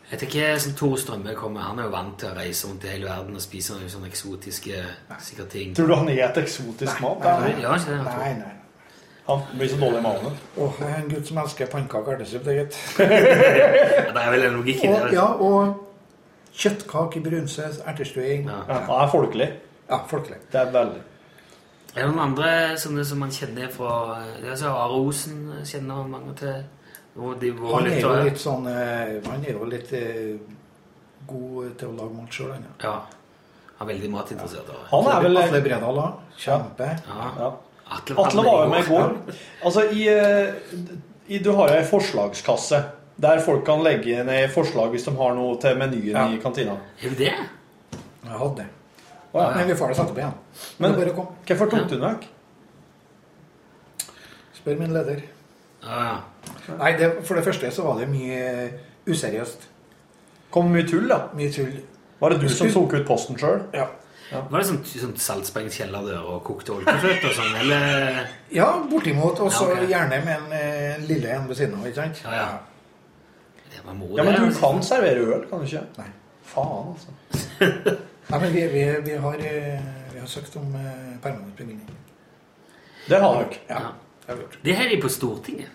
Speaker 2: Jeg tenker som Tor Strømme kommer, han er jo vant til å reise rundt i hele verden og spise noen sånne eksotiske sikkert ting.
Speaker 1: Tror du han er et eksotisk mat?
Speaker 2: Nei,
Speaker 1: Nei,
Speaker 2: ja, ikke det, jeg tror.
Speaker 9: Nei, nei.
Speaker 1: Han blir så dårlig i magen.
Speaker 9: Åh, jeg er en gutt som elsker pannekaker og ertesuppe, det er gitt.
Speaker 2: Ja, det er vel en logikk i
Speaker 9: Og,
Speaker 2: det.
Speaker 9: ja, og kjøttkake i brunsaus, ertestuing.
Speaker 2: Ja.
Speaker 1: Ja, han er folkelig.
Speaker 9: Ja, folkelig.
Speaker 1: Det er veldig
Speaker 2: Er det noen andre sånne som man kjenner fra det er altså Are Osen kjenner mange til? Og de våre
Speaker 9: Han er jo
Speaker 2: lyttere.
Speaker 9: litt sånn eh, Han er jo litt eh, god til å lage mat sjøl, han. ja.
Speaker 2: Ja. Han er veldig matinteressert. Are.
Speaker 1: Han er vel
Speaker 9: Atle Bredal òg. Kjempe.
Speaker 2: Ja.
Speaker 1: ja.
Speaker 2: Atle,
Speaker 1: Atle var jo med i går. Altså, i, eh, i, du har jo ei forslagskasse der folk kan legge ned forslag hvis de har noe til menyen
Speaker 9: Ja.
Speaker 1: i kantina.
Speaker 2: Er det det?
Speaker 9: Jeg hadde det.
Speaker 1: Å, ja.
Speaker 9: Men vi får det satt opp igjen.
Speaker 1: Men-
Speaker 9: Men bare kom.
Speaker 1: Hvorfor tok du den vekk?
Speaker 9: Spør min leder.
Speaker 2: Ja, ja.
Speaker 9: Nei, det, for det første så var det mye useriøst.
Speaker 1: Kom mye tull, da.
Speaker 9: Mye tull.
Speaker 1: Var det du som tok ut posten sjøl?
Speaker 9: Ja.
Speaker 2: Var det sånn, sånn saltsprengt kjellerdør og kokte olkefløte og sånn, eller
Speaker 9: Ja, bortimot. Og så
Speaker 2: Ja, ok.
Speaker 9: gjerne med en eh, lille en ved siden av, ikke sant?
Speaker 2: Ja, ja. Det var moro.
Speaker 1: Ja, men
Speaker 2: det,
Speaker 1: du
Speaker 2: altså.
Speaker 1: kan servere øl, kan du ikke?
Speaker 9: Nei.
Speaker 1: Faen, altså.
Speaker 9: Nei, men vi, vi, vi, har, eh, vi har søkt om eh, permanent bevilgning.
Speaker 1: Det har dere.
Speaker 9: Ja.
Speaker 2: Ja.
Speaker 9: Det har vi gjort.
Speaker 2: Det her er de på Stortinget.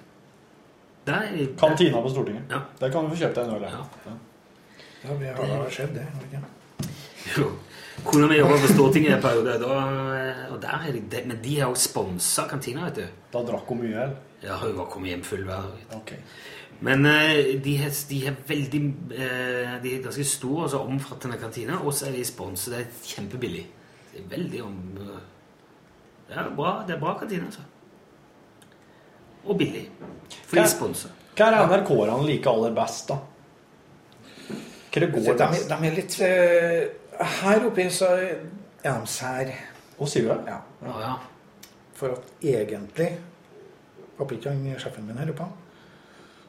Speaker 2: Der er de
Speaker 1: Kantina på Stortinget.
Speaker 2: Ja.
Speaker 1: Der kan du få kjøpt deg en øl. ja.
Speaker 2: Ja.
Speaker 9: Ja, vi har, det har skjedd, Mm. det. har vi ikke?
Speaker 2: Jo. Kona mi jobba på Stortinget en periode, da, og der er de, de- men de har jo sponsa kantina, vet du.
Speaker 1: Da drakk hun mye øl.
Speaker 2: Ja, hun var kommet hjem full hver dag.
Speaker 1: Ok.
Speaker 2: Men eh, de har, de har veldig eh, De er ganske store og så omfattende kantiner, og så er de sponset. Det er kjempebillig. Det er veldig om Det er bra, det er bra kantine, altså. Og billig. For de
Speaker 1: Hva-
Speaker 2: er sponset.
Speaker 1: Hva er NRK-erne liker aller best, da? Hva det går
Speaker 9: De,
Speaker 1: best?
Speaker 9: de er litt eh, Her oppe så er de sær.
Speaker 1: Hva sier du?
Speaker 9: Ja.
Speaker 2: Å ja.
Speaker 9: For at egentlig Håper ikke han sjefen min hører på.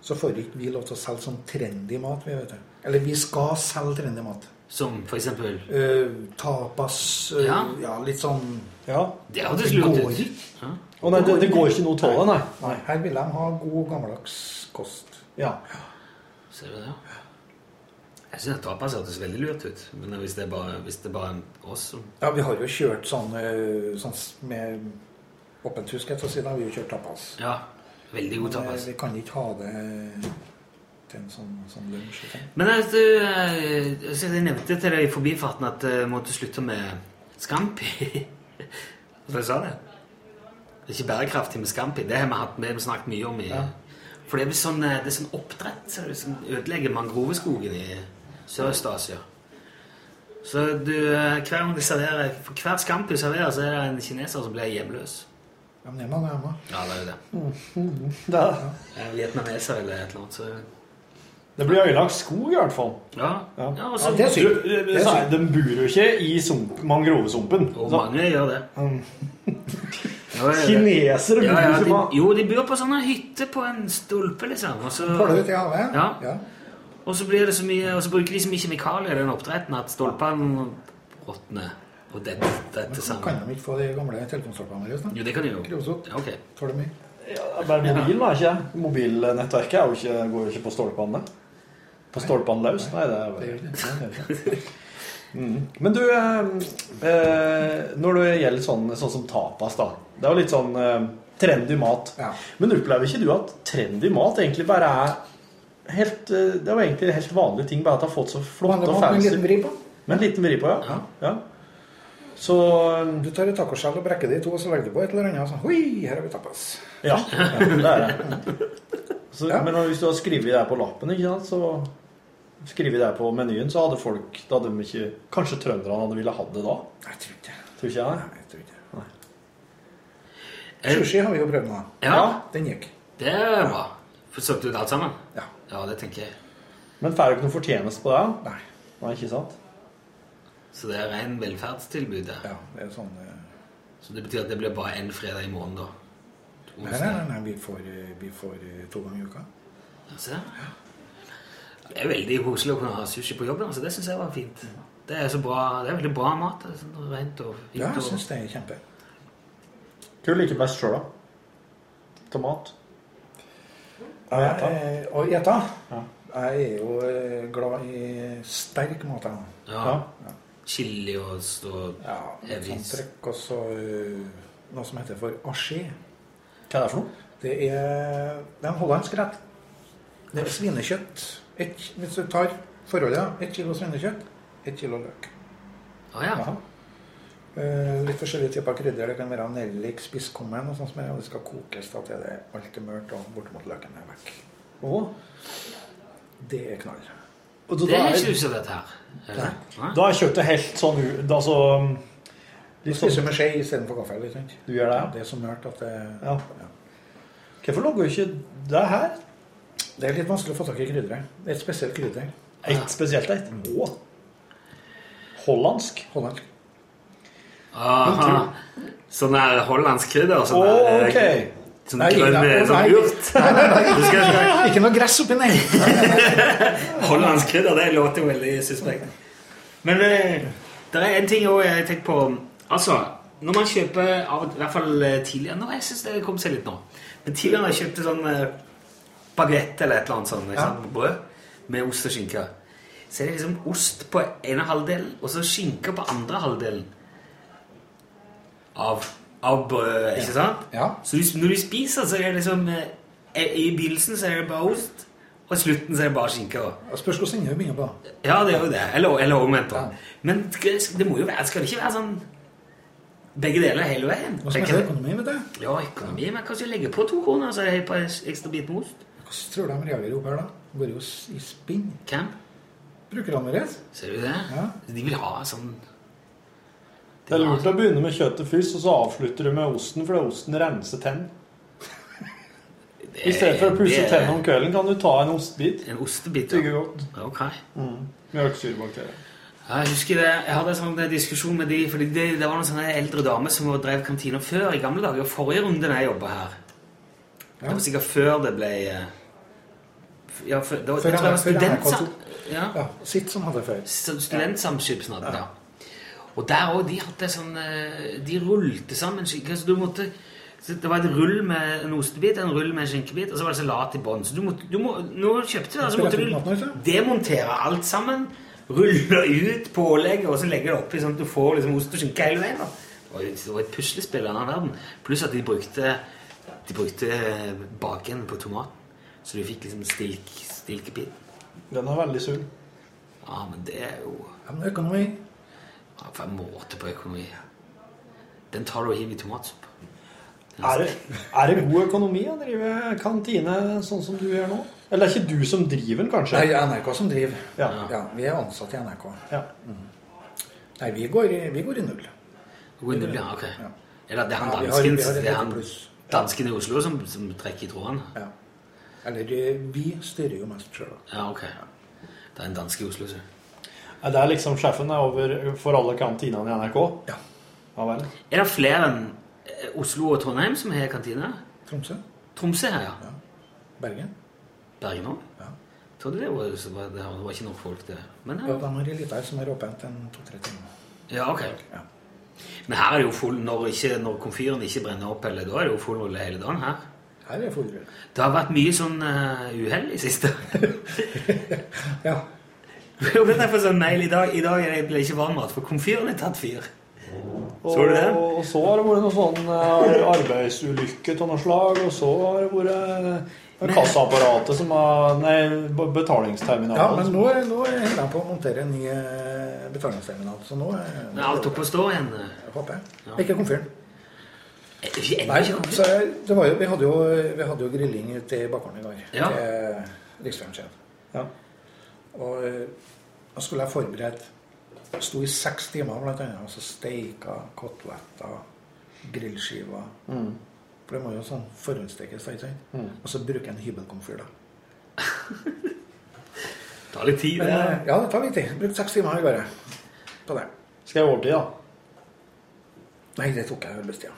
Speaker 9: Så får ikke vi lov til å selge sånn trendy mat. Vi vet du. Eller vi skal selge trendy mat.
Speaker 2: Som for eksempel
Speaker 9: Eh, tapas eh, ja.
Speaker 2: Ja.
Speaker 9: litt sånn
Speaker 1: Ja.
Speaker 2: Det hørtes
Speaker 9: Det
Speaker 2: lurt
Speaker 9: går
Speaker 2: ut.
Speaker 9: ikke.
Speaker 2: Ja.
Speaker 1: Å nei, det, det går ikke noe av det, nei.
Speaker 9: Nei, her vil de ha god, gammeldags kost.
Speaker 1: Ja.
Speaker 2: Ser du det? ja? Jeg syns tapas hørtes veldig lurt ut. Men hvis det er bare, hvis det er bare oss som
Speaker 9: Ja, vi har jo kjørt sånn, eh, sånn s- med åpent hus, skal jeg til å si. Da har vi jo kjørt tapas.
Speaker 2: Ja. Veldig god
Speaker 9: Men, eh,
Speaker 2: tapas.
Speaker 9: vi kan ikke ha det til en sånn, sånn lunsj. og sånn.
Speaker 2: Men eh, du, eh, jeg synes jeg nevnte til deg i forbifarten at jeg måtte slutte med Scampi. Så jeg sa det. Det er ikke bærekraftig med Scampi. Det har vi, hatt, vi har snakket mye om. i... For det er vel sånn, eh, det er sånn oppdrett ser du, som ødelegger mangroveskogen i Sørøst-Asia. Så du, eh, hver gang de serverer, for hvert Scampi du serverer, så er det en kineser som blir hjemløs.
Speaker 9: Ja, men det er mange hjemme.
Speaker 2: Ja, det er jo det.
Speaker 9: Mm,
Speaker 1: Det,
Speaker 2: Eh, Vietnameser eller et eller annet, så
Speaker 1: det blir ødelagt skog, i hvert fall.
Speaker 2: Ja. ja. og så,
Speaker 9: Ja, det er
Speaker 1: Du, eh,
Speaker 9: sykt.
Speaker 1: det er sant, de bor jo ikke i sump, mangrovesumpen.
Speaker 2: og
Speaker 1: Så-
Speaker 2: mange gjør det. Ja, ja, ja.
Speaker 1: Kinesere bor jo
Speaker 2: Ja, ja,
Speaker 1: ikke
Speaker 2: de,
Speaker 1: ma-
Speaker 2: jo, de bor på sånne hytter på en stolpe, liksom. Og så,
Speaker 9: Får det ut i havet?
Speaker 2: Ja. og så, blir det så, mye, og så bruker de så mye kjemikalier i den oppdretten at stolpene råtner. Og dette, dette
Speaker 9: Kan
Speaker 2: sammen.
Speaker 9: de ikke få de gamle telefonstolpene våre?
Speaker 2: Jo, det kan de jo.
Speaker 9: Krosot.
Speaker 2: Ja, ok.
Speaker 9: Tar det mye?
Speaker 1: Ja, Bare mobilen, da, ikke Mobilnettverket er jo ikke, går jo ikke på stolpene. På stolpene løs? Nei, det er
Speaker 9: Det gjør
Speaker 1: bare
Speaker 9: det. Ja, det gjør det.
Speaker 1: Men du, eh, eh, når det gjelder sånn, sånn som tapas, da. Det er jo litt sånn eh, trendy mat.
Speaker 9: Ja.
Speaker 1: Men opplever ikke du at trendy mat egentlig bare er helt eh, Det er jo egentlig helt vanlige ting, bare at det har fått så flotte
Speaker 9: Vanlig
Speaker 1: og
Speaker 9: mat med en liten
Speaker 1: fancy
Speaker 9: vri på.
Speaker 1: Med en liten vri på, ja.
Speaker 2: Ja.
Speaker 1: ja. Så
Speaker 9: Du tar et tacoskjell og brekker det i to, og så legger du på et eller annet. og Sånn, Oi, her har vi tapas.
Speaker 1: Ja, det er det. Så,
Speaker 9: Ja.
Speaker 1: Men hvis du har skrevet det her på lappen, ikke sant, så skrevet det her på menyen, så hadde folk da hadde de ikke, Kanskje trønderne hadde ville hatt det da?
Speaker 9: Jeg tror ikke det.
Speaker 1: Tror ikke jeg det.
Speaker 9: Nei, jeg tror ikke det.
Speaker 2: Eh,
Speaker 9: Sushi har vi jo prøvd nå.
Speaker 2: Ja,
Speaker 9: Den gikk.
Speaker 2: det er bra. Får satt ut alt sammen?
Speaker 9: Ja.
Speaker 2: Ja, det tenker jeg.
Speaker 1: Men får du ikke noe fortjeneste på det?
Speaker 9: Nei.
Speaker 1: Nei, ikke sant?
Speaker 2: Så det er ren velferdstilbud der.
Speaker 9: Ja, det er sånn eh,
Speaker 2: Så det betyr at det blir bare én fredag i måneden, da. Du
Speaker 9: Nei, nei, nei, nei vi, får, eh, vi får eh, to ganger i uka.
Speaker 2: Se. Det er veldig koselig å kunne ha sushi på jobben. Altså, det syns jeg var fint. Det er, så bra, det er veldig bra mat. altså, Sånn, rent og fint.
Speaker 9: Ja, jeg
Speaker 2: og,
Speaker 9: syns det er kjempe.
Speaker 1: Hva liker best sjøl, da? Til mat?
Speaker 9: Eh, Og gjeta? Jeg er jo eh, glad i sterk mat. jeg.
Speaker 2: ja, Chili og, og
Speaker 9: Ja,
Speaker 2: heavy
Speaker 9: Antrekk og så eh, noe som heter for ashi.
Speaker 1: Hva er det for noe?
Speaker 9: Det er, det er en hollandsk rett. Det er svinekjøtt. Et, hvis du tar forholdet, ja. ett kilo svinekjøtt, ett kilo løk.
Speaker 2: Å ja.
Speaker 9: Ja. Eh, litt forskjellige typer krydder. Det kan være nellik, spisskummen og sånt som er, og det skal kokes da til det alt er mørt og bortimot løken er vekk.
Speaker 1: Åh.
Speaker 9: Det er knall.
Speaker 1: Og da,
Speaker 2: Det er
Speaker 1: da,
Speaker 2: ikke usødet her. Er det?
Speaker 1: er,
Speaker 2: Nei?
Speaker 1: da er kjøttet helt sånn u- da, så, um,
Speaker 9: Du
Speaker 1: Litt
Speaker 9: spiser
Speaker 1: sånn
Speaker 9: med skje istedenfor kaffe. Litt, sant?
Speaker 1: Du gjør det, ja?
Speaker 9: Det er så mørt at det
Speaker 1: Ja. Hvorfor lager ikke det her?
Speaker 9: Det er litt vanskelig å få tak i krydderet. Det er et spesielt krydder.
Speaker 1: Ett spesielt et? Åh. Hollandsk?
Speaker 9: Hollandsk.
Speaker 2: Aha. Sånn der hollandsk krydder. Sånn
Speaker 1: Åh,
Speaker 2: der,
Speaker 1: ok.
Speaker 2: Sånn
Speaker 9: Nei,
Speaker 2: grønn
Speaker 9: nei,
Speaker 2: med
Speaker 9: nei.
Speaker 2: sånn urt. Du skal-
Speaker 9: Ikke noe gress oppi, nei.
Speaker 2: Hollandsk krydder, det låter jo veldig suspekt. Men eh, det er en ting også jeg har tenkt på. Altså, når man kjøper av, I hvert fall eh, tidligere nå, Jeg syns det kom seg litt nå. Men tidligere når jeg kjøpte sånn bagett eller et eller annet sånt, ikke sant, på brød med ost og skinke. Så er det liksom ost på ene halvdelen og så skinke på andre halvdelen av, av brødet. Ikke sant?
Speaker 9: Ja.
Speaker 2: Så du, når du spiser, så er det liksom eh, I begynnelsen så er det bare ost, og i slutten så er det bare skinke. Og.
Speaker 9: Jeg Spørs hvordan ende du begynner på. da.
Speaker 2: Ja, det er jo det. Eller, eller omvendt. da. Men det det må jo være, skal det ikke være sånn begge deler hele veien?
Speaker 9: Hva som
Speaker 2: Tenker
Speaker 9: heter
Speaker 2: jeg.
Speaker 9: økonomi, vet du?
Speaker 2: Ja, økonomi. Men kanskje legge på to kroner, så er det på en ekstra bit med ost?
Speaker 9: Hvordan tror du de reagerer opp her, da? Går jo s- i spinn.
Speaker 2: Hvem?
Speaker 9: Brukerne våre.
Speaker 2: Ser du det?
Speaker 9: Ja.
Speaker 2: De vil ha sånn
Speaker 1: Det er lurt å begynne med kjøttet først, og så avslutter du med osten, fordi osten renser tenn. I stedet for å pusse
Speaker 2: det-
Speaker 1: tennene om kvelden, kan du ta en ostebit.
Speaker 2: En ostebit.
Speaker 1: Tygge
Speaker 2: Ja.
Speaker 1: godt.
Speaker 2: Ok.
Speaker 1: Mjølkesyrebakterier.
Speaker 2: Ja, Jeg husker det, jeg hadde en sånn diskusjon med de, fordi det, det var noen sånne eldre damer som drev kantina før i gamle dager, forrige runde da jeg jobbet her. Det var sikkert før det ble... eh, f- Ja, før, det var,
Speaker 9: Før
Speaker 2: jeg tror jeg var
Speaker 9: NRK- før
Speaker 2: studentsam...
Speaker 9: NRK
Speaker 2: Ja,
Speaker 9: Ja, sitt som hadde før.
Speaker 2: stu- studentsamskipsen hadde det. Og der også, de hadde sånn... eh, De rullte sammen skinke, så du måtte... Så det var et rull med en ostebit, en rull med en skinkebit, og så var det salat i bånd. Så du måtte... Du må, når du kjøpte det, så måtte
Speaker 9: Skulle jeg fått
Speaker 2: du
Speaker 9: maten ut,
Speaker 2: demontere alt sammen, rulle ut pålegget, og så legge det oppi sånn at du får liksom ost og skinke hele veien. da. Det var jo- Det var et puslespill i denne verden. Pluss at de brukte, de brukte eh, baken på tomaten, så du fikk liksom stilk, stilkebit.
Speaker 1: Den er veldig sunn.
Speaker 2: Ja, men det er jo
Speaker 9: Ja, men økonomi
Speaker 2: ja, for en måte på økonomi. Den tar du og hiver i tomatsuppe.
Speaker 1: Er det, er det god økonomi å drive kantine sånn som du gjør nå? Eller er det ikke du som driver den, kanskje?
Speaker 9: Nei, det er NRK som driver.
Speaker 1: Ja.
Speaker 9: ja vi er ansatt i NRK. Mhm.
Speaker 1: Ja.
Speaker 9: Nei, vi går, i- vi går i null.
Speaker 2: Hvor er det- Ja, Ah, ok. Eller det er han
Speaker 9: Ja, vi har-
Speaker 2: dansken,
Speaker 9: vi har et
Speaker 2: det er han
Speaker 9: lite pluss.
Speaker 2: dansken i Oslo som, som trekker i trådene.
Speaker 9: Ja. Eller eh, vi styrer jo mest sjøl.
Speaker 2: Ja, ok. Det er en danske i Oslo, så.
Speaker 1: Er det liksom sjefen er over for alle kantinene i NRK?
Speaker 9: Ja.
Speaker 1: Ja vel.
Speaker 2: Er det flere enn eh, Oslo og Trondheim som har kantine?
Speaker 9: Tromsø,
Speaker 2: Tromsø her, ja.
Speaker 9: Bergen.
Speaker 2: Bergen òg?
Speaker 9: Ja.
Speaker 2: Trodde det var, så var, det var ikke nok folk til det. Men
Speaker 9: Ja,
Speaker 2: her,
Speaker 9: de har ei lita som er åpent en to-tre timer.
Speaker 2: ja, ok.
Speaker 9: Ja.
Speaker 2: Men her er det jo full når, ikke, når komfyren ikke brenner opp, eller da er det jo full rulle hele dagen her.
Speaker 9: Her er det full rulle.
Speaker 2: Det har vært mye sånn eh, uhell i siste.
Speaker 9: Ja.
Speaker 2: Jo, men jeg får sånn mail i dag. I dag er det- ble det ikke varm mat, for komfyren er tatt fyr.
Speaker 1: Og,
Speaker 2: Så du det?
Speaker 1: og så har det vært noen sånn eh, arbeidsulykke av noe slag, og så har det vært eh, kassaapparatet som har Nei, b-
Speaker 9: ja,
Speaker 1: betalingsterminalen.
Speaker 9: men nå, er- nå er- holder jeg på å montere en ny eh, betalingsterminal, så nå er-
Speaker 2: Men alt oppe og står igjen. eh,
Speaker 9: håper jeg. Ikke komfyren.
Speaker 2: Er det ikke ennå
Speaker 9: Nei,
Speaker 2: ikke komfyr?
Speaker 9: så jeg- det var jo, vi, hadde jo, vi hadde jo grilling ute i bakgården i går.
Speaker 2: Ja.
Speaker 9: Til Riksfjernsyn.
Speaker 1: Ja.
Speaker 9: Og eh, da skulle jeg forberedt Sto i seks timer blant annet, og så steika koteletter, grillskiver For det må jo sånn forhåndsstekes, da, ikke sant? Og så bruker jeg en hybelkomfyr, da.
Speaker 2: Det tar litt tid.
Speaker 9: Men,
Speaker 2: det.
Speaker 9: eh, ja, det tar litt tid. Brukte seks timer i går jeg, på det.
Speaker 1: Skal jeg overtid, da?
Speaker 9: Nei, det tok jeg vel bestida.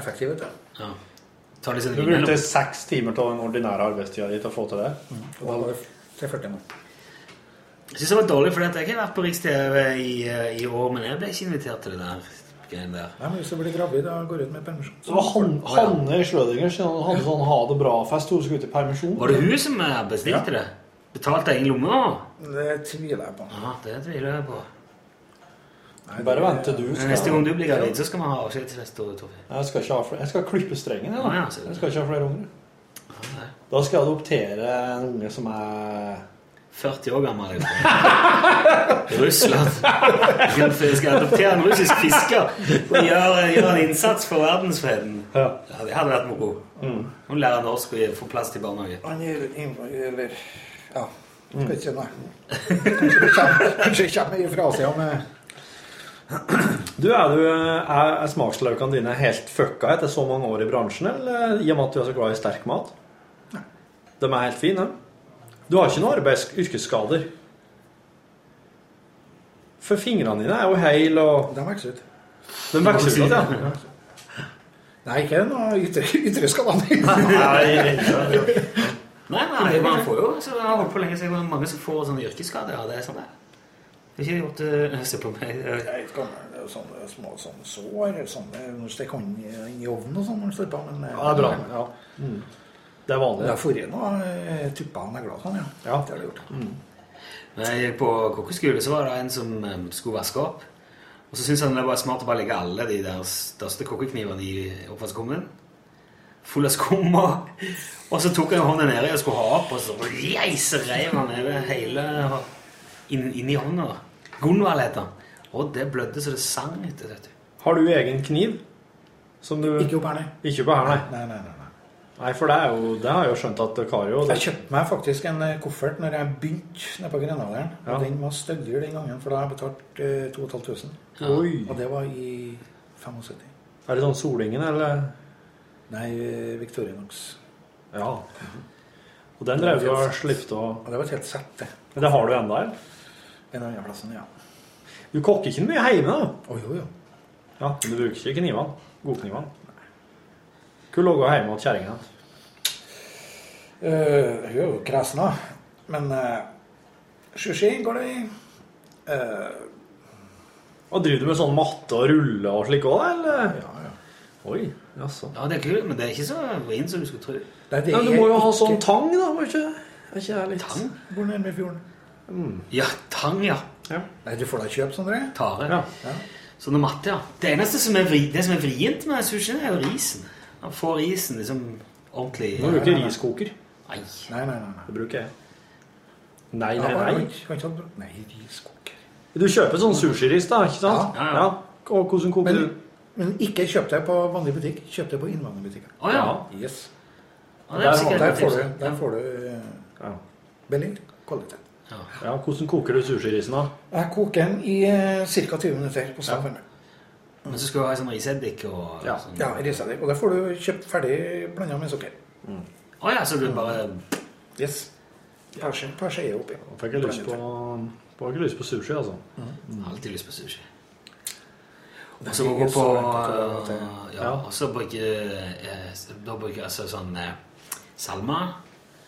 Speaker 9: Effektiv, vet du.
Speaker 2: Ja. tar liksom
Speaker 1: Du
Speaker 2: inn
Speaker 1: brukte
Speaker 2: mellom.
Speaker 1: seks timer av den ordinære arbeidstida di til å få til det.
Speaker 9: Mm.
Speaker 1: Og da var det
Speaker 9: til 40 nå.
Speaker 2: Jeg synes det var dårlig, for jeg har ikke vært på Riks-TV i, eh, i år, men jeg ble ikke invitert til det der greien der.
Speaker 9: Nei, men Hvis du blir gravid og går ut med permisjon
Speaker 1: Så det var han, Hanne Schrødinger som hadde sånn ha det bra-fest. Hun skulle ut i permisjon.
Speaker 2: Var det hun som eh, bestilte det? Betalte egen lomme? også?
Speaker 9: Det tviler jeg på.
Speaker 2: Ja, det tviler jeg på.
Speaker 1: Bare vent til du
Speaker 2: Men
Speaker 1: skal
Speaker 2: Neste gang du blir gravid, så skal vi ha avskjed til neste år, Torfinn.
Speaker 1: Jeg skal, ikke ha flere. jeg skal klippe strengen, jeg.
Speaker 2: Ah, ja,
Speaker 1: Da.
Speaker 2: så det.
Speaker 1: Jeg skal ikke ha flere unger. Da skal jeg adoptere en unge som er
Speaker 2: 40 år gammel. Russland. Jeg skal- Jeg skal adoptere en russisk fisker og gjøre, gjøre en innsats for verdensfreden. Ja, Mm. det hadde vært moro. Hun lærer norsk og gir- får plass til barnehage.
Speaker 9: Han gir innfall, eller Ja. Skal ikke si nei. Kanskje det kommer- Kanskje det kommer ifra Asia med
Speaker 1: Du, Er, du, er, er smaksløkene dine helt fucka etter så mange år i bransjen, eller i og med at du er så glad i sterk mat? De er helt fine. Du har ikke noen arbeids- yrkesskader. For fingrene dine er jo hele og
Speaker 9: De vokser ut.
Speaker 1: De vokser ut, ja.
Speaker 9: Nei, ikke noe ytre, ytre skade.
Speaker 2: Nei, men jeg bare får jo, så jeg har holdt på lenge, så jeg har mange som får sånne yrkesskader. Ja, det er sånn det. er. Det er ikke gjort øh, Se på meg.
Speaker 9: Jeg kan, det er jo sånne små sånne sår sånne, Når du stikker hånden i- inn i ovnen og sånn når du står på, men
Speaker 1: Ja, det er bra.
Speaker 9: Ja.
Speaker 1: Det er
Speaker 9: Det er
Speaker 1: vanlig.
Speaker 9: forrige nå eh, tuppa han er glad sånn, ja. Det har det gjort.
Speaker 2: Når jeg gikk på kokkeskole, så var det en som eh, skulle vaske opp. Og så syntes han det var smart å bare legge alle de der største kokkeknivene i oppvaskkummen. Full av skum. Og, og så tok han hånda nedi og skulle ha opp, og så reise reiv han ned hele inn, inn i hånda. Gunvald het han. Og det blødde så det sang etter dette.
Speaker 1: Har du egen kniv? Som du
Speaker 9: Ikke opp her, nei.
Speaker 1: Ikke på her, nei.
Speaker 9: Nei, nei, nei, nei.
Speaker 1: Nei, for det, er jo, det har jeg jo skjønt at Kari og
Speaker 9: Jeg kjøpte meg faktisk en eh, koffert når jeg begynte nede på Grenadalen.
Speaker 1: Ja.
Speaker 9: Og den var styggere den gangen, for da har jeg betalt eh, 2500.
Speaker 1: Oi!
Speaker 9: Og det var i 75.
Speaker 1: Er det sånn Solingen, eller?
Speaker 9: Nei, eh, Victorinox.
Speaker 1: Ja.
Speaker 2: Mhm.
Speaker 1: Og den drev du og slippet og
Speaker 9: Og det var et helt sett, det.
Speaker 1: Men Det har du ennå, eller?
Speaker 9: En annen plass enn ja.
Speaker 1: Du kokker ikke mye hjemme, da.
Speaker 9: Å jo, jo.
Speaker 1: Ja, men du bruker ikke knivene. Godknivene. Hvor lå hun hjemme hos kjerringa?
Speaker 9: Eh, hun er jo kresen, da. Men eh, sushi går det i. Eh,
Speaker 1: Og driver du med sånn matte og rulle og slik òg, eller?
Speaker 9: ja, ja.
Speaker 1: Oi, jaså.
Speaker 2: Ja, det er kult, men det er ikke så vrient som du skulle tro.
Speaker 9: Nei, det
Speaker 1: Ja, du
Speaker 9: er
Speaker 1: må jo ha
Speaker 9: ikke-
Speaker 1: sånn tang, da. Må ikke er ikke det litt
Speaker 2: Tang?
Speaker 9: Bor nærme fjorden.
Speaker 2: Ja, tang, ja.
Speaker 9: Nei, du får da kjøpe sånn, dere.
Speaker 2: Tare.
Speaker 1: Ja.
Speaker 2: Sånn og matte, ja. Det eneste som er, vri, det som er vrient med sushien, er jo risen. Han får risen liksom ordentlig
Speaker 1: Du bruker riskoker.
Speaker 2: Nei.
Speaker 9: Nei, nei, nei. nei.
Speaker 1: Det bruker jeg. Nei,
Speaker 9: Ja,
Speaker 1: nei,
Speaker 9: kan
Speaker 1: nei.
Speaker 9: ikke- kan ikke ha- Nei, riskoker.
Speaker 1: Du kjøper sånn sushiris, da, ikke sant?
Speaker 2: Ja, ja, ja.
Speaker 1: Og hvordan koker du?
Speaker 9: Men, men ikke kjøp det på vanlig butikk. Kjøp det på innvandrerbutikker.
Speaker 2: Å ja.
Speaker 9: Yes.
Speaker 2: ja. det
Speaker 1: Der-
Speaker 2: er sikkert
Speaker 9: Der
Speaker 2: et
Speaker 9: får
Speaker 2: tips.
Speaker 9: du, der får du eh,
Speaker 1: Ja.
Speaker 9: billig kvalitet.
Speaker 1: ja, Hvordan koker du sushirisen, da?
Speaker 9: Jeg koker den i ca. 20 minutter på stand varme.
Speaker 2: Men så skal du ha sånn riseddik og
Speaker 1: Ja.
Speaker 2: sånn.
Speaker 9: Ja, risadikk. Og det får du kjøpt ferdig blanda med sukker.
Speaker 2: Å ja, så du bare
Speaker 9: Yes. Perse, perse er oppi.
Speaker 1: Jeg Fikk jeg lyst på, får ikke lyst på sushi, altså.
Speaker 2: alltid lyst på sushi.
Speaker 9: Det
Speaker 2: Og så må
Speaker 9: er
Speaker 2: gå på
Speaker 9: så enkelt å ta
Speaker 2: eh, Ja, og så bruker eh, Da bruker jeg altså sånn eh, salma.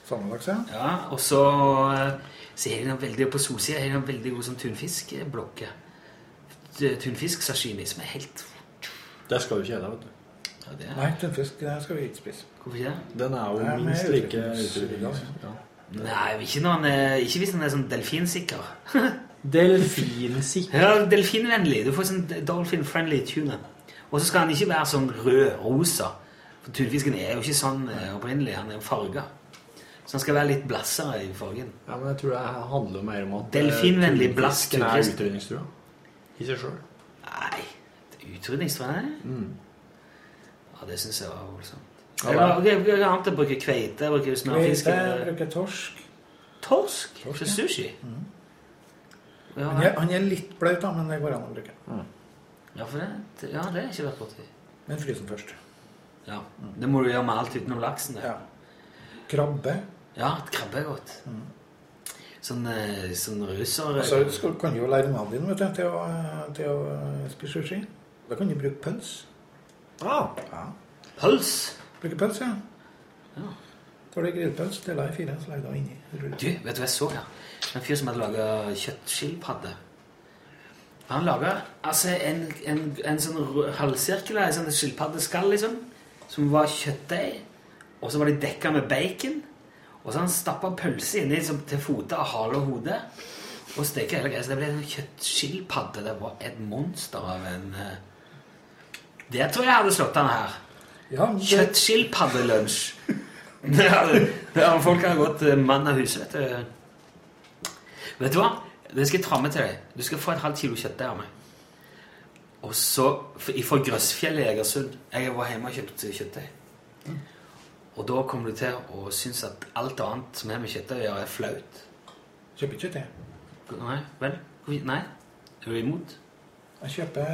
Speaker 9: Sammenlagt, ja.
Speaker 2: Ja, og så eh, så er det noe veldig på solsida er det noe veldig god sånn tunfiskblokke. Tunfisk-sashimi som er helt
Speaker 1: Det skal du ikke gjøre, vet du.
Speaker 2: ja, det er.
Speaker 9: Nei, tunfisk det skal vi ikke spise.
Speaker 2: Hvorfor ikke det?
Speaker 1: Den er jo
Speaker 9: Nei, men
Speaker 1: minst
Speaker 9: jeg
Speaker 1: like
Speaker 9: vet ikke.
Speaker 1: utrydnings- ja.
Speaker 2: Nei, ikke, når han er, ikke hvis han er sånn delfinsikker.
Speaker 1: Delfinsikk.
Speaker 2: Ja, delfinvennlig. Du får sånn dolphin-friendly tune. Og så skal han ikke være sånn rød-rosa. For tunfisken er jo ikke sånn eh, opprinnelig. Han er jo farga. Så han skal være litt blassere i fargen.
Speaker 1: Ja, men jeg tror det handler mer om at
Speaker 2: Delfinvennlig
Speaker 1: eh,
Speaker 2: blask,
Speaker 1: tunfisken er
Speaker 2: tunfisk.
Speaker 1: utrydningstrua. I seg sjøl.
Speaker 2: Nei, det er utrydningstrøye. Ja, det syns jeg var voldsomt.
Speaker 1: Ja,
Speaker 2: Eller, ok, jeg bruker annet jeg bruker kveite, jeg bruker snørrfisk.
Speaker 9: Kveite,
Speaker 2: jeg bruker
Speaker 9: bruker torsk.
Speaker 2: Torsk? Ikke sushi? Ja,
Speaker 9: Han er, han er litt blaut, da, men det går an å bruke.
Speaker 2: ja, for det, ja, det er ikke vært borti.
Speaker 9: Men frys den først.
Speaker 2: Ja. Det må du gjøre med alt utenom laksen. det.
Speaker 9: Ja. Krabbe.
Speaker 2: Ja, krabbe er godt. Sånn, eh, sånn russer...
Speaker 9: Mm. Så skal, kan du jo lære maten din vet du, til å, til å eh, spise sushi. Da kan du bruke pøls.
Speaker 1: Ah,
Speaker 2: Pøls!
Speaker 9: Bruker pølse, ja. Tar du grillpølse, deler jeg i fire, så legger du inni. Ruller.
Speaker 2: Du, vet du hva jeg så her? En fyr som hadde laga kjøttskilpadde. Han laga altså, en, en, en sånn rød- halvsirkel, en sånn skilpaddeskall, liksom, som var kjøttdeig, og så var de dekka med bacon, og så han stappa pølse inni liksom, til fote av hale og hode, og steka hele greia. Så det ble en kjøttskilpadde. Det var et monster av en eh, Det tror jeg hadde slått han her.
Speaker 9: Ja, men det-
Speaker 2: Kjøttskilpaddelunsj. Det hadde- det hadde- Folk har gått eh, mann av huset, vet du. Vet du hva? Det skal jeg ta med til deg. Du skal få et halvt kilo kjøttdeig av meg. Og så for- Fra Grøssfjellet i Egersund. Jeg var hjemme og kjøpte kjøttdeig. Og da kommer du til å synes at alt annet som er med kjøttdeig å gjøre, er flaut.
Speaker 9: Kjøper ikke kjøttdeig.
Speaker 2: Nei? Vel? Nei? Er du imot?
Speaker 9: Jeg kjøper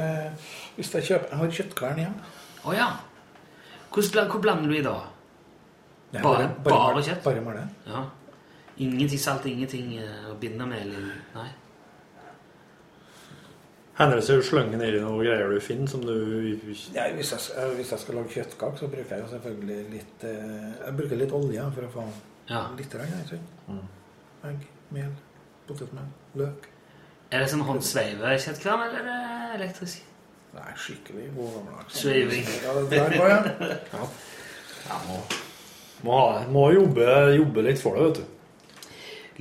Speaker 9: Hvis jeg kjøper Jeg har kjøttkvern igjen.
Speaker 2: Å ja. Hvordan bla- Hvor blander du i da?
Speaker 9: Nei,
Speaker 2: Bare,
Speaker 9: bare-
Speaker 2: bare,
Speaker 9: bare-
Speaker 2: kjøtt?
Speaker 9: bare mel.
Speaker 2: Ja. Ingenting salt, ingenting eh, å binde med? Eller, nei.
Speaker 1: Hender det seg å slenge nedi noe greier du finner som du
Speaker 9: Ja, hvis, jeg, eh, hvis jeg skal lage kjøttkake, så bruker jeg jo selvfølgelig litt eh, Jeg bruker litt olje for å få litt rann, jeg tror.
Speaker 2: Mm.
Speaker 9: Egg, mel, potetmel, løk.
Speaker 2: Er det sånn håndsveivekjøttkvern, eller er det elektrisk?
Speaker 9: Nei, skikkelig overlags.
Speaker 2: Sveiving.
Speaker 9: Ja, det der går, ja.
Speaker 1: Ja. må, må, ha- må jobbe, jobbe litt for det, vet du.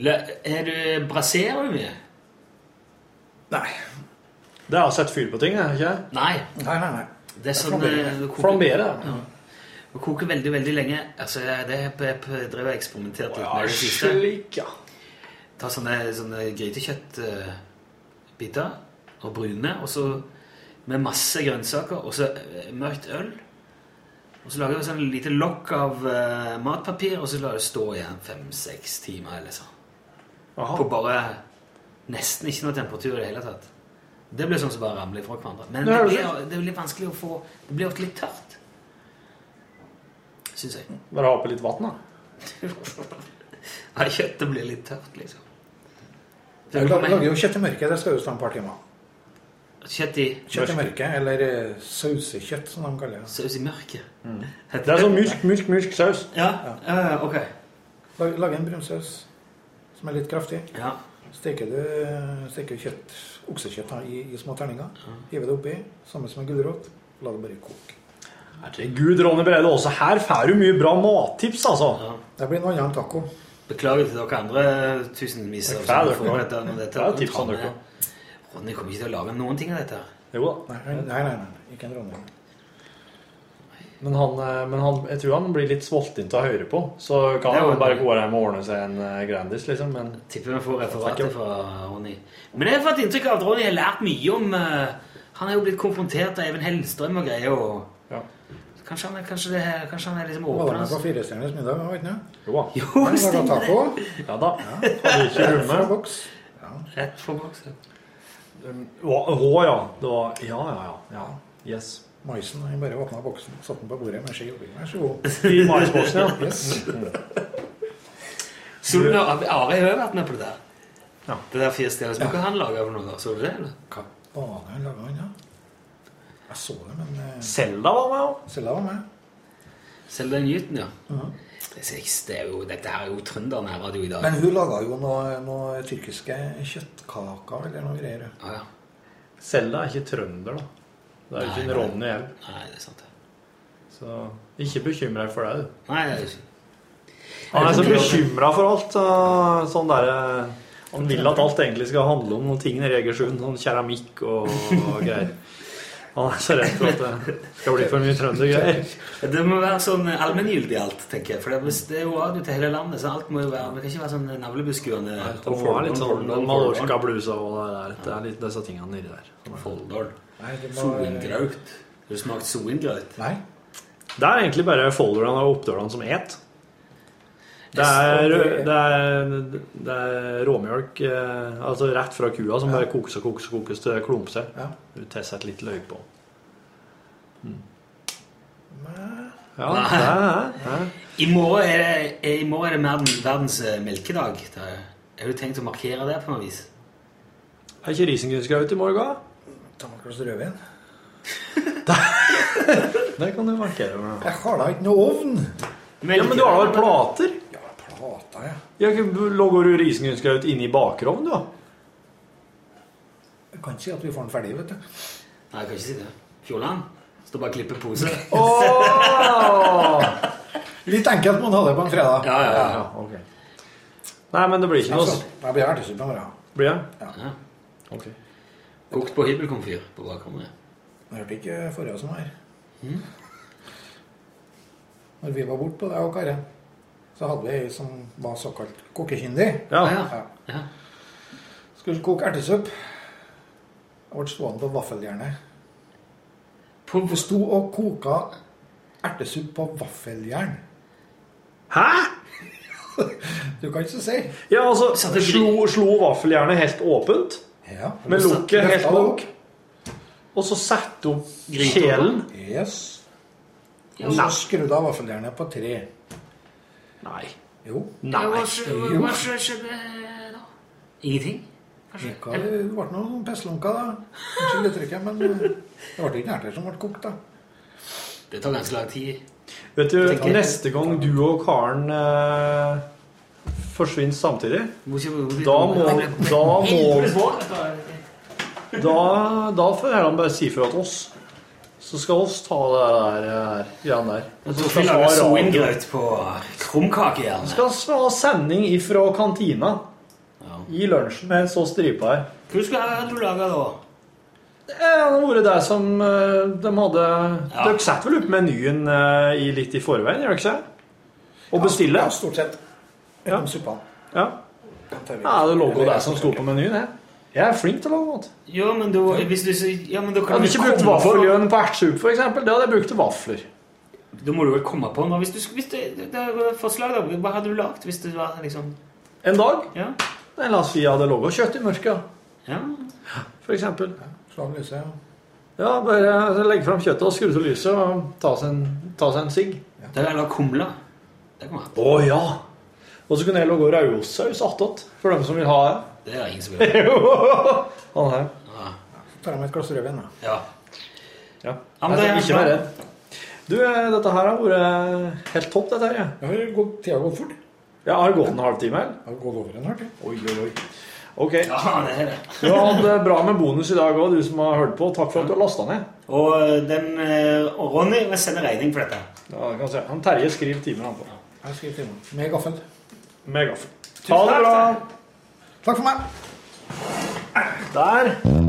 Speaker 2: Lø- Er du Braserer du mye?
Speaker 9: Nei.
Speaker 1: Det er å sette fyr på ting, er det ikke?
Speaker 2: Nei.
Speaker 9: Nei, nei, nei.
Speaker 2: Det er sånn
Speaker 1: Flambere.
Speaker 2: eh, du koker-
Speaker 1: Flambere.
Speaker 2: Ja. Du koker veldig, veldig lenge. Altså, jeg- det jeg, jeg, jeg drev og eksperimenterte litt med i det siste.
Speaker 1: Slik, ja.
Speaker 2: Ta sånne, sånne grytekjøttbiter og brune, og så med masse grønnsaker, og så eh, mørkt øl. Og så lager du sånn lite lokk av eh, matpapir, og så lar du stå igjen fem-seks timer eller sånn. På bare nesten ikke noe temperatur i det hele tatt. Det blir sånn som bare ramler fra hverandre. Men
Speaker 1: Nå
Speaker 2: det
Speaker 1: er det
Speaker 2: blir, det blir vanskelig å få Det blir ofte litt tørt. Syns jeg.
Speaker 1: Bare ha på litt vann, da.
Speaker 2: Ja, kjøttet blir litt tørt, liksom.
Speaker 9: Jeg lager lager jo kjøtt i mørket. Det skal jo stå et par timer.
Speaker 2: Kjøtt i
Speaker 9: Kjøtt i mørket, eller eh, sausekjøtt, som de kaller det.
Speaker 2: Saus i mørket.
Speaker 1: Det er sånn myrk, myrk, myrk saus.
Speaker 2: Ja, eh, ok.
Speaker 9: Lag- Lage en brunsaus som er litt kraftig.
Speaker 2: Ja.
Speaker 9: Steker du eh, steker kjøtt, oksekjøtt da, i, i små terninger. Hiver det oppi, samme som en gulrot. La det bare koke.
Speaker 1: Herregud, Ronny Brede, også her får du mye bra mattips, altså.
Speaker 9: Det blir noe annet enn taco.
Speaker 2: Beklager til dere andre tusenvis av
Speaker 1: Det er
Speaker 2: som
Speaker 1: fair,
Speaker 2: får
Speaker 1: dere.
Speaker 2: dette. Men dette
Speaker 1: Det er tips om
Speaker 2: Ronny-
Speaker 1: dere.
Speaker 2: Ronny kommer ikke til å lage noen ting av dette. her.
Speaker 1: Jo da.
Speaker 9: Nei, nei, nei. nei, nei. Ikke en dronning.
Speaker 1: Men, han, eh, men han, jeg tror han blir litt sulten til å høre på. Så kan
Speaker 2: Det er jo-
Speaker 1: han bare gå hjem og ordne seg en eh, Grandis, liksom. Men
Speaker 2: Tipper vi får referatet fra Ronny. Men jeg har fått inntrykk av at Ronny har lært mye om eh, Han er jo blitt konfrontert av Even Hellstrøm og greier. Og
Speaker 1: ja.
Speaker 2: kanskje, han er, kanskje, det, her- kanskje han er liksom
Speaker 9: Var
Speaker 2: åpen?
Speaker 9: det med på
Speaker 2: altså.
Speaker 9: Firestjerners middag? var det ikke det?
Speaker 1: Jo da.
Speaker 2: Jo,
Speaker 9: Nei, laget
Speaker 2: stemmer det!
Speaker 9: taco.
Speaker 1: Ja da. Hadde ikke
Speaker 9: Fra
Speaker 1: rommet.
Speaker 9: boks.
Speaker 2: Rett fra boksen.
Speaker 1: Å å, ja. Det var Ja, ja, ja. ja. Yes.
Speaker 9: Maisen. Jeg bare åpna boksen, satte den på bordet med ski oppi. Vær så god.
Speaker 1: I maisboksen, ja.
Speaker 9: Yes.
Speaker 2: Så du, Are Are har jo vært med på det der.
Speaker 1: Ja.
Speaker 2: Det der firestjerners boka han laga for noen år. Så du det? eller?
Speaker 9: Hva faen har han laga, han, da? Jeg så det, men eh,
Speaker 1: Selda var med, ja.
Speaker 9: Selda var med.
Speaker 2: Selda Newton, ja. Det er, det er jo, dette her er jo trønderen her radio i dag.
Speaker 9: Men hun laga jo noe, noe tyrkiske kjøttkaker eller noe greier.
Speaker 2: Ja, ja.
Speaker 1: Selda er ikke trønder, da. Det er jo ikke en
Speaker 2: Nei, nei.
Speaker 1: Ronny heller.
Speaker 2: Nei, det er sant. det.
Speaker 1: Så ikke bekymre deg for det. du.
Speaker 2: Nei, det er ikke.
Speaker 1: Han er så bekymra for alt. så- Sånn derre Han vil at alt egentlig skal handle om noen ting nede i Egersund. Sånn keramikk og, og greier. Han er så redd for at det skal bli for mye trøndergreier.
Speaker 2: Det må være sånn allmenngyldig alt, tenker jeg. For det er- hvis det er jo radio til hele landet, så alt må jo være Det kan ikke være sånn navlebeskuende
Speaker 1: Det må være litt sånn den Mallorca-blusa og det der. Det er litt disse tingene nedi der.
Speaker 2: Folldal.
Speaker 9: Nei, det var-
Speaker 2: Soingraut. Har du smakt soingraut?
Speaker 9: Nei.
Speaker 1: Det er egentlig bare folderne og oppdølene som et. Det er, det, er, det er råmjølk, eh, altså rett fra kua, som bare kokes og kokes og kokes til det klumper seg.
Speaker 9: Ja.
Speaker 1: Du tesser et lite løk på.
Speaker 9: Men,
Speaker 1: Ja, det er, det er.
Speaker 2: I morgen er det, eh, i morgen er det verden- verdens eh, melkedag. Det er- Har du tenkt å markere det på noe vis?
Speaker 1: er ikke risengrynsgrøt i morgen?
Speaker 9: Ta meg et glass rødvin.
Speaker 1: Det kan du markere med.
Speaker 9: Jeg har da ikke noe ovn.
Speaker 1: Ja, men du har da vel plater?
Speaker 9: Plata, ja.
Speaker 1: Jeg kan- du Logger du risengrynsgrøt inne i bakerovnen, du, da?
Speaker 9: Jeg kan ikke si at vi får den ferdig, vet du.
Speaker 2: Nei, jeg kan ikke si det. Fjordland. Står bare og klipper pose.
Speaker 9: Litt enkelt må man ha det på en fredag.
Speaker 2: Ja, ja, ja.
Speaker 1: ok. Nei, men det blir ikke noe
Speaker 9: Altså, jeg blir ertesuppe i morgen.
Speaker 1: Blir det?
Speaker 2: Ja.
Speaker 1: Ok.
Speaker 2: Kokt på hybelkomfyr på bakrommet.
Speaker 9: Jeg hørte ikke forrige som var her. Når vi var borte på det, jeg og Kare, så hadde vi ei som var såkalt kokkekyndig.
Speaker 1: Ja.
Speaker 2: Ja. Ja.
Speaker 9: Skulle koke ertesuppe. Jeg ble stående på vaffeljernet.
Speaker 2: På
Speaker 9: Hun sto og koka ertesuppe på vaffeljern.
Speaker 1: Hæ?!
Speaker 9: Du kan ikke si.
Speaker 1: Ja, altså,
Speaker 2: Satt det
Speaker 1: slo, slo vaffeljernet helt åpent,
Speaker 9: Ja.
Speaker 1: med lukket helt
Speaker 9: Løfta
Speaker 1: bak,
Speaker 9: lokk.
Speaker 1: og så satte opp
Speaker 2: Gryta.
Speaker 1: kjelen
Speaker 9: Yes. Og så skrudde av vaffeljernet på tre.
Speaker 1: Nei.
Speaker 9: Jo,
Speaker 1: Nei.
Speaker 2: Hva skjedde hva skjedde da? Ingenting?
Speaker 9: det var- det ble noen pestlunker, da. Unnskyld uttrykket, men eh, det ble ikke erter som ble kokt, da.
Speaker 2: Det tar ganske lang tid.
Speaker 1: Vet du,
Speaker 2: Tenker-
Speaker 1: neste gang du og Karen eh, forsvinner samtidig,
Speaker 2: Må ikke-
Speaker 1: da må, da må
Speaker 2: Hva
Speaker 1: Da, da får han bare si fra til oss. Så skal oss ta det der eh, greiene der. Og så skal vi
Speaker 2: Lage
Speaker 1: ha radio.
Speaker 2: soingrøt på krumkakehjerne.
Speaker 1: Skal vi ha sending ifra kantina i lunsjen med så stripa her.
Speaker 2: Hva skal du lage da?
Speaker 1: Det har vært det som eh, de hadde
Speaker 2: Ja.
Speaker 1: Dere setter vel opp menyen eh, i litt i forveien, gjør dere ikke det? Og bestiller?
Speaker 9: Ja, stort sett.
Speaker 1: Ja.
Speaker 9: Utenom suppa.
Speaker 1: Ja. ja, det lå jo det som sto på menyen. Jeg. jeg er flink til å lage mat.
Speaker 2: Ja, men da hvis du, sier- ja, men da
Speaker 1: Jeg
Speaker 2: kan
Speaker 1: hadde
Speaker 2: du
Speaker 1: ikke
Speaker 2: komme
Speaker 1: brukt
Speaker 2: på-
Speaker 1: vaffeljøen på ertsuppe, for eksempel. Det hadde jeg brukt til vafler.
Speaker 2: Da må du vel komme på noe. Hvis du, sk- hvis det, det, det var et forslag, da. Hva hadde du lagd hvis det var liksom
Speaker 1: En dag
Speaker 2: Ja.
Speaker 1: nei, La oss si jeg hadde laga kjøtt i mørket,
Speaker 2: ja.
Speaker 1: for eksempel.
Speaker 9: Slå av lyset. ja.
Speaker 1: Ja, bare legge fram kjøttet og skru til lyset og ta seg en, ta seg en sigg.
Speaker 2: Da hadde jeg lagd kumler. Det kommer an.
Speaker 1: Å ja! Og så kunne jeg lage rødsaus attåt, for dem som vil ha det.
Speaker 2: Det er ingen som vil ha.
Speaker 1: Han her.
Speaker 9: Så tar jeg meg et glass rødvin, da.
Speaker 2: Ja.
Speaker 1: Ja.
Speaker 2: Ja,
Speaker 1: Jeg
Speaker 2: men
Speaker 1: skal
Speaker 2: det er
Speaker 1: ikke
Speaker 2: bra.
Speaker 1: være redd. Du, eh, dette her har vært eh, helt topp, dette her. jeg.
Speaker 9: Ja, det har gått- Tida har gått fort.
Speaker 1: Jeg har gått en halvtime. eller?
Speaker 9: Det har gått over en halv tid.
Speaker 1: Oi, oi, oi. Ok.
Speaker 2: ja, det er det.
Speaker 1: Du har hatt det bra med bonus i dag òg, du som har hørt på. Takk for at du har lasta ned.
Speaker 2: Og den eh, og Ronny vil sende regning for dette.
Speaker 1: Ja, det kan jeg si. Han Terje skriver timer, han på.
Speaker 9: Jeg har skrevet timen. Med gaffel.
Speaker 1: Med gaffel. Ha det bra!
Speaker 9: Takk for meg.
Speaker 1: Der.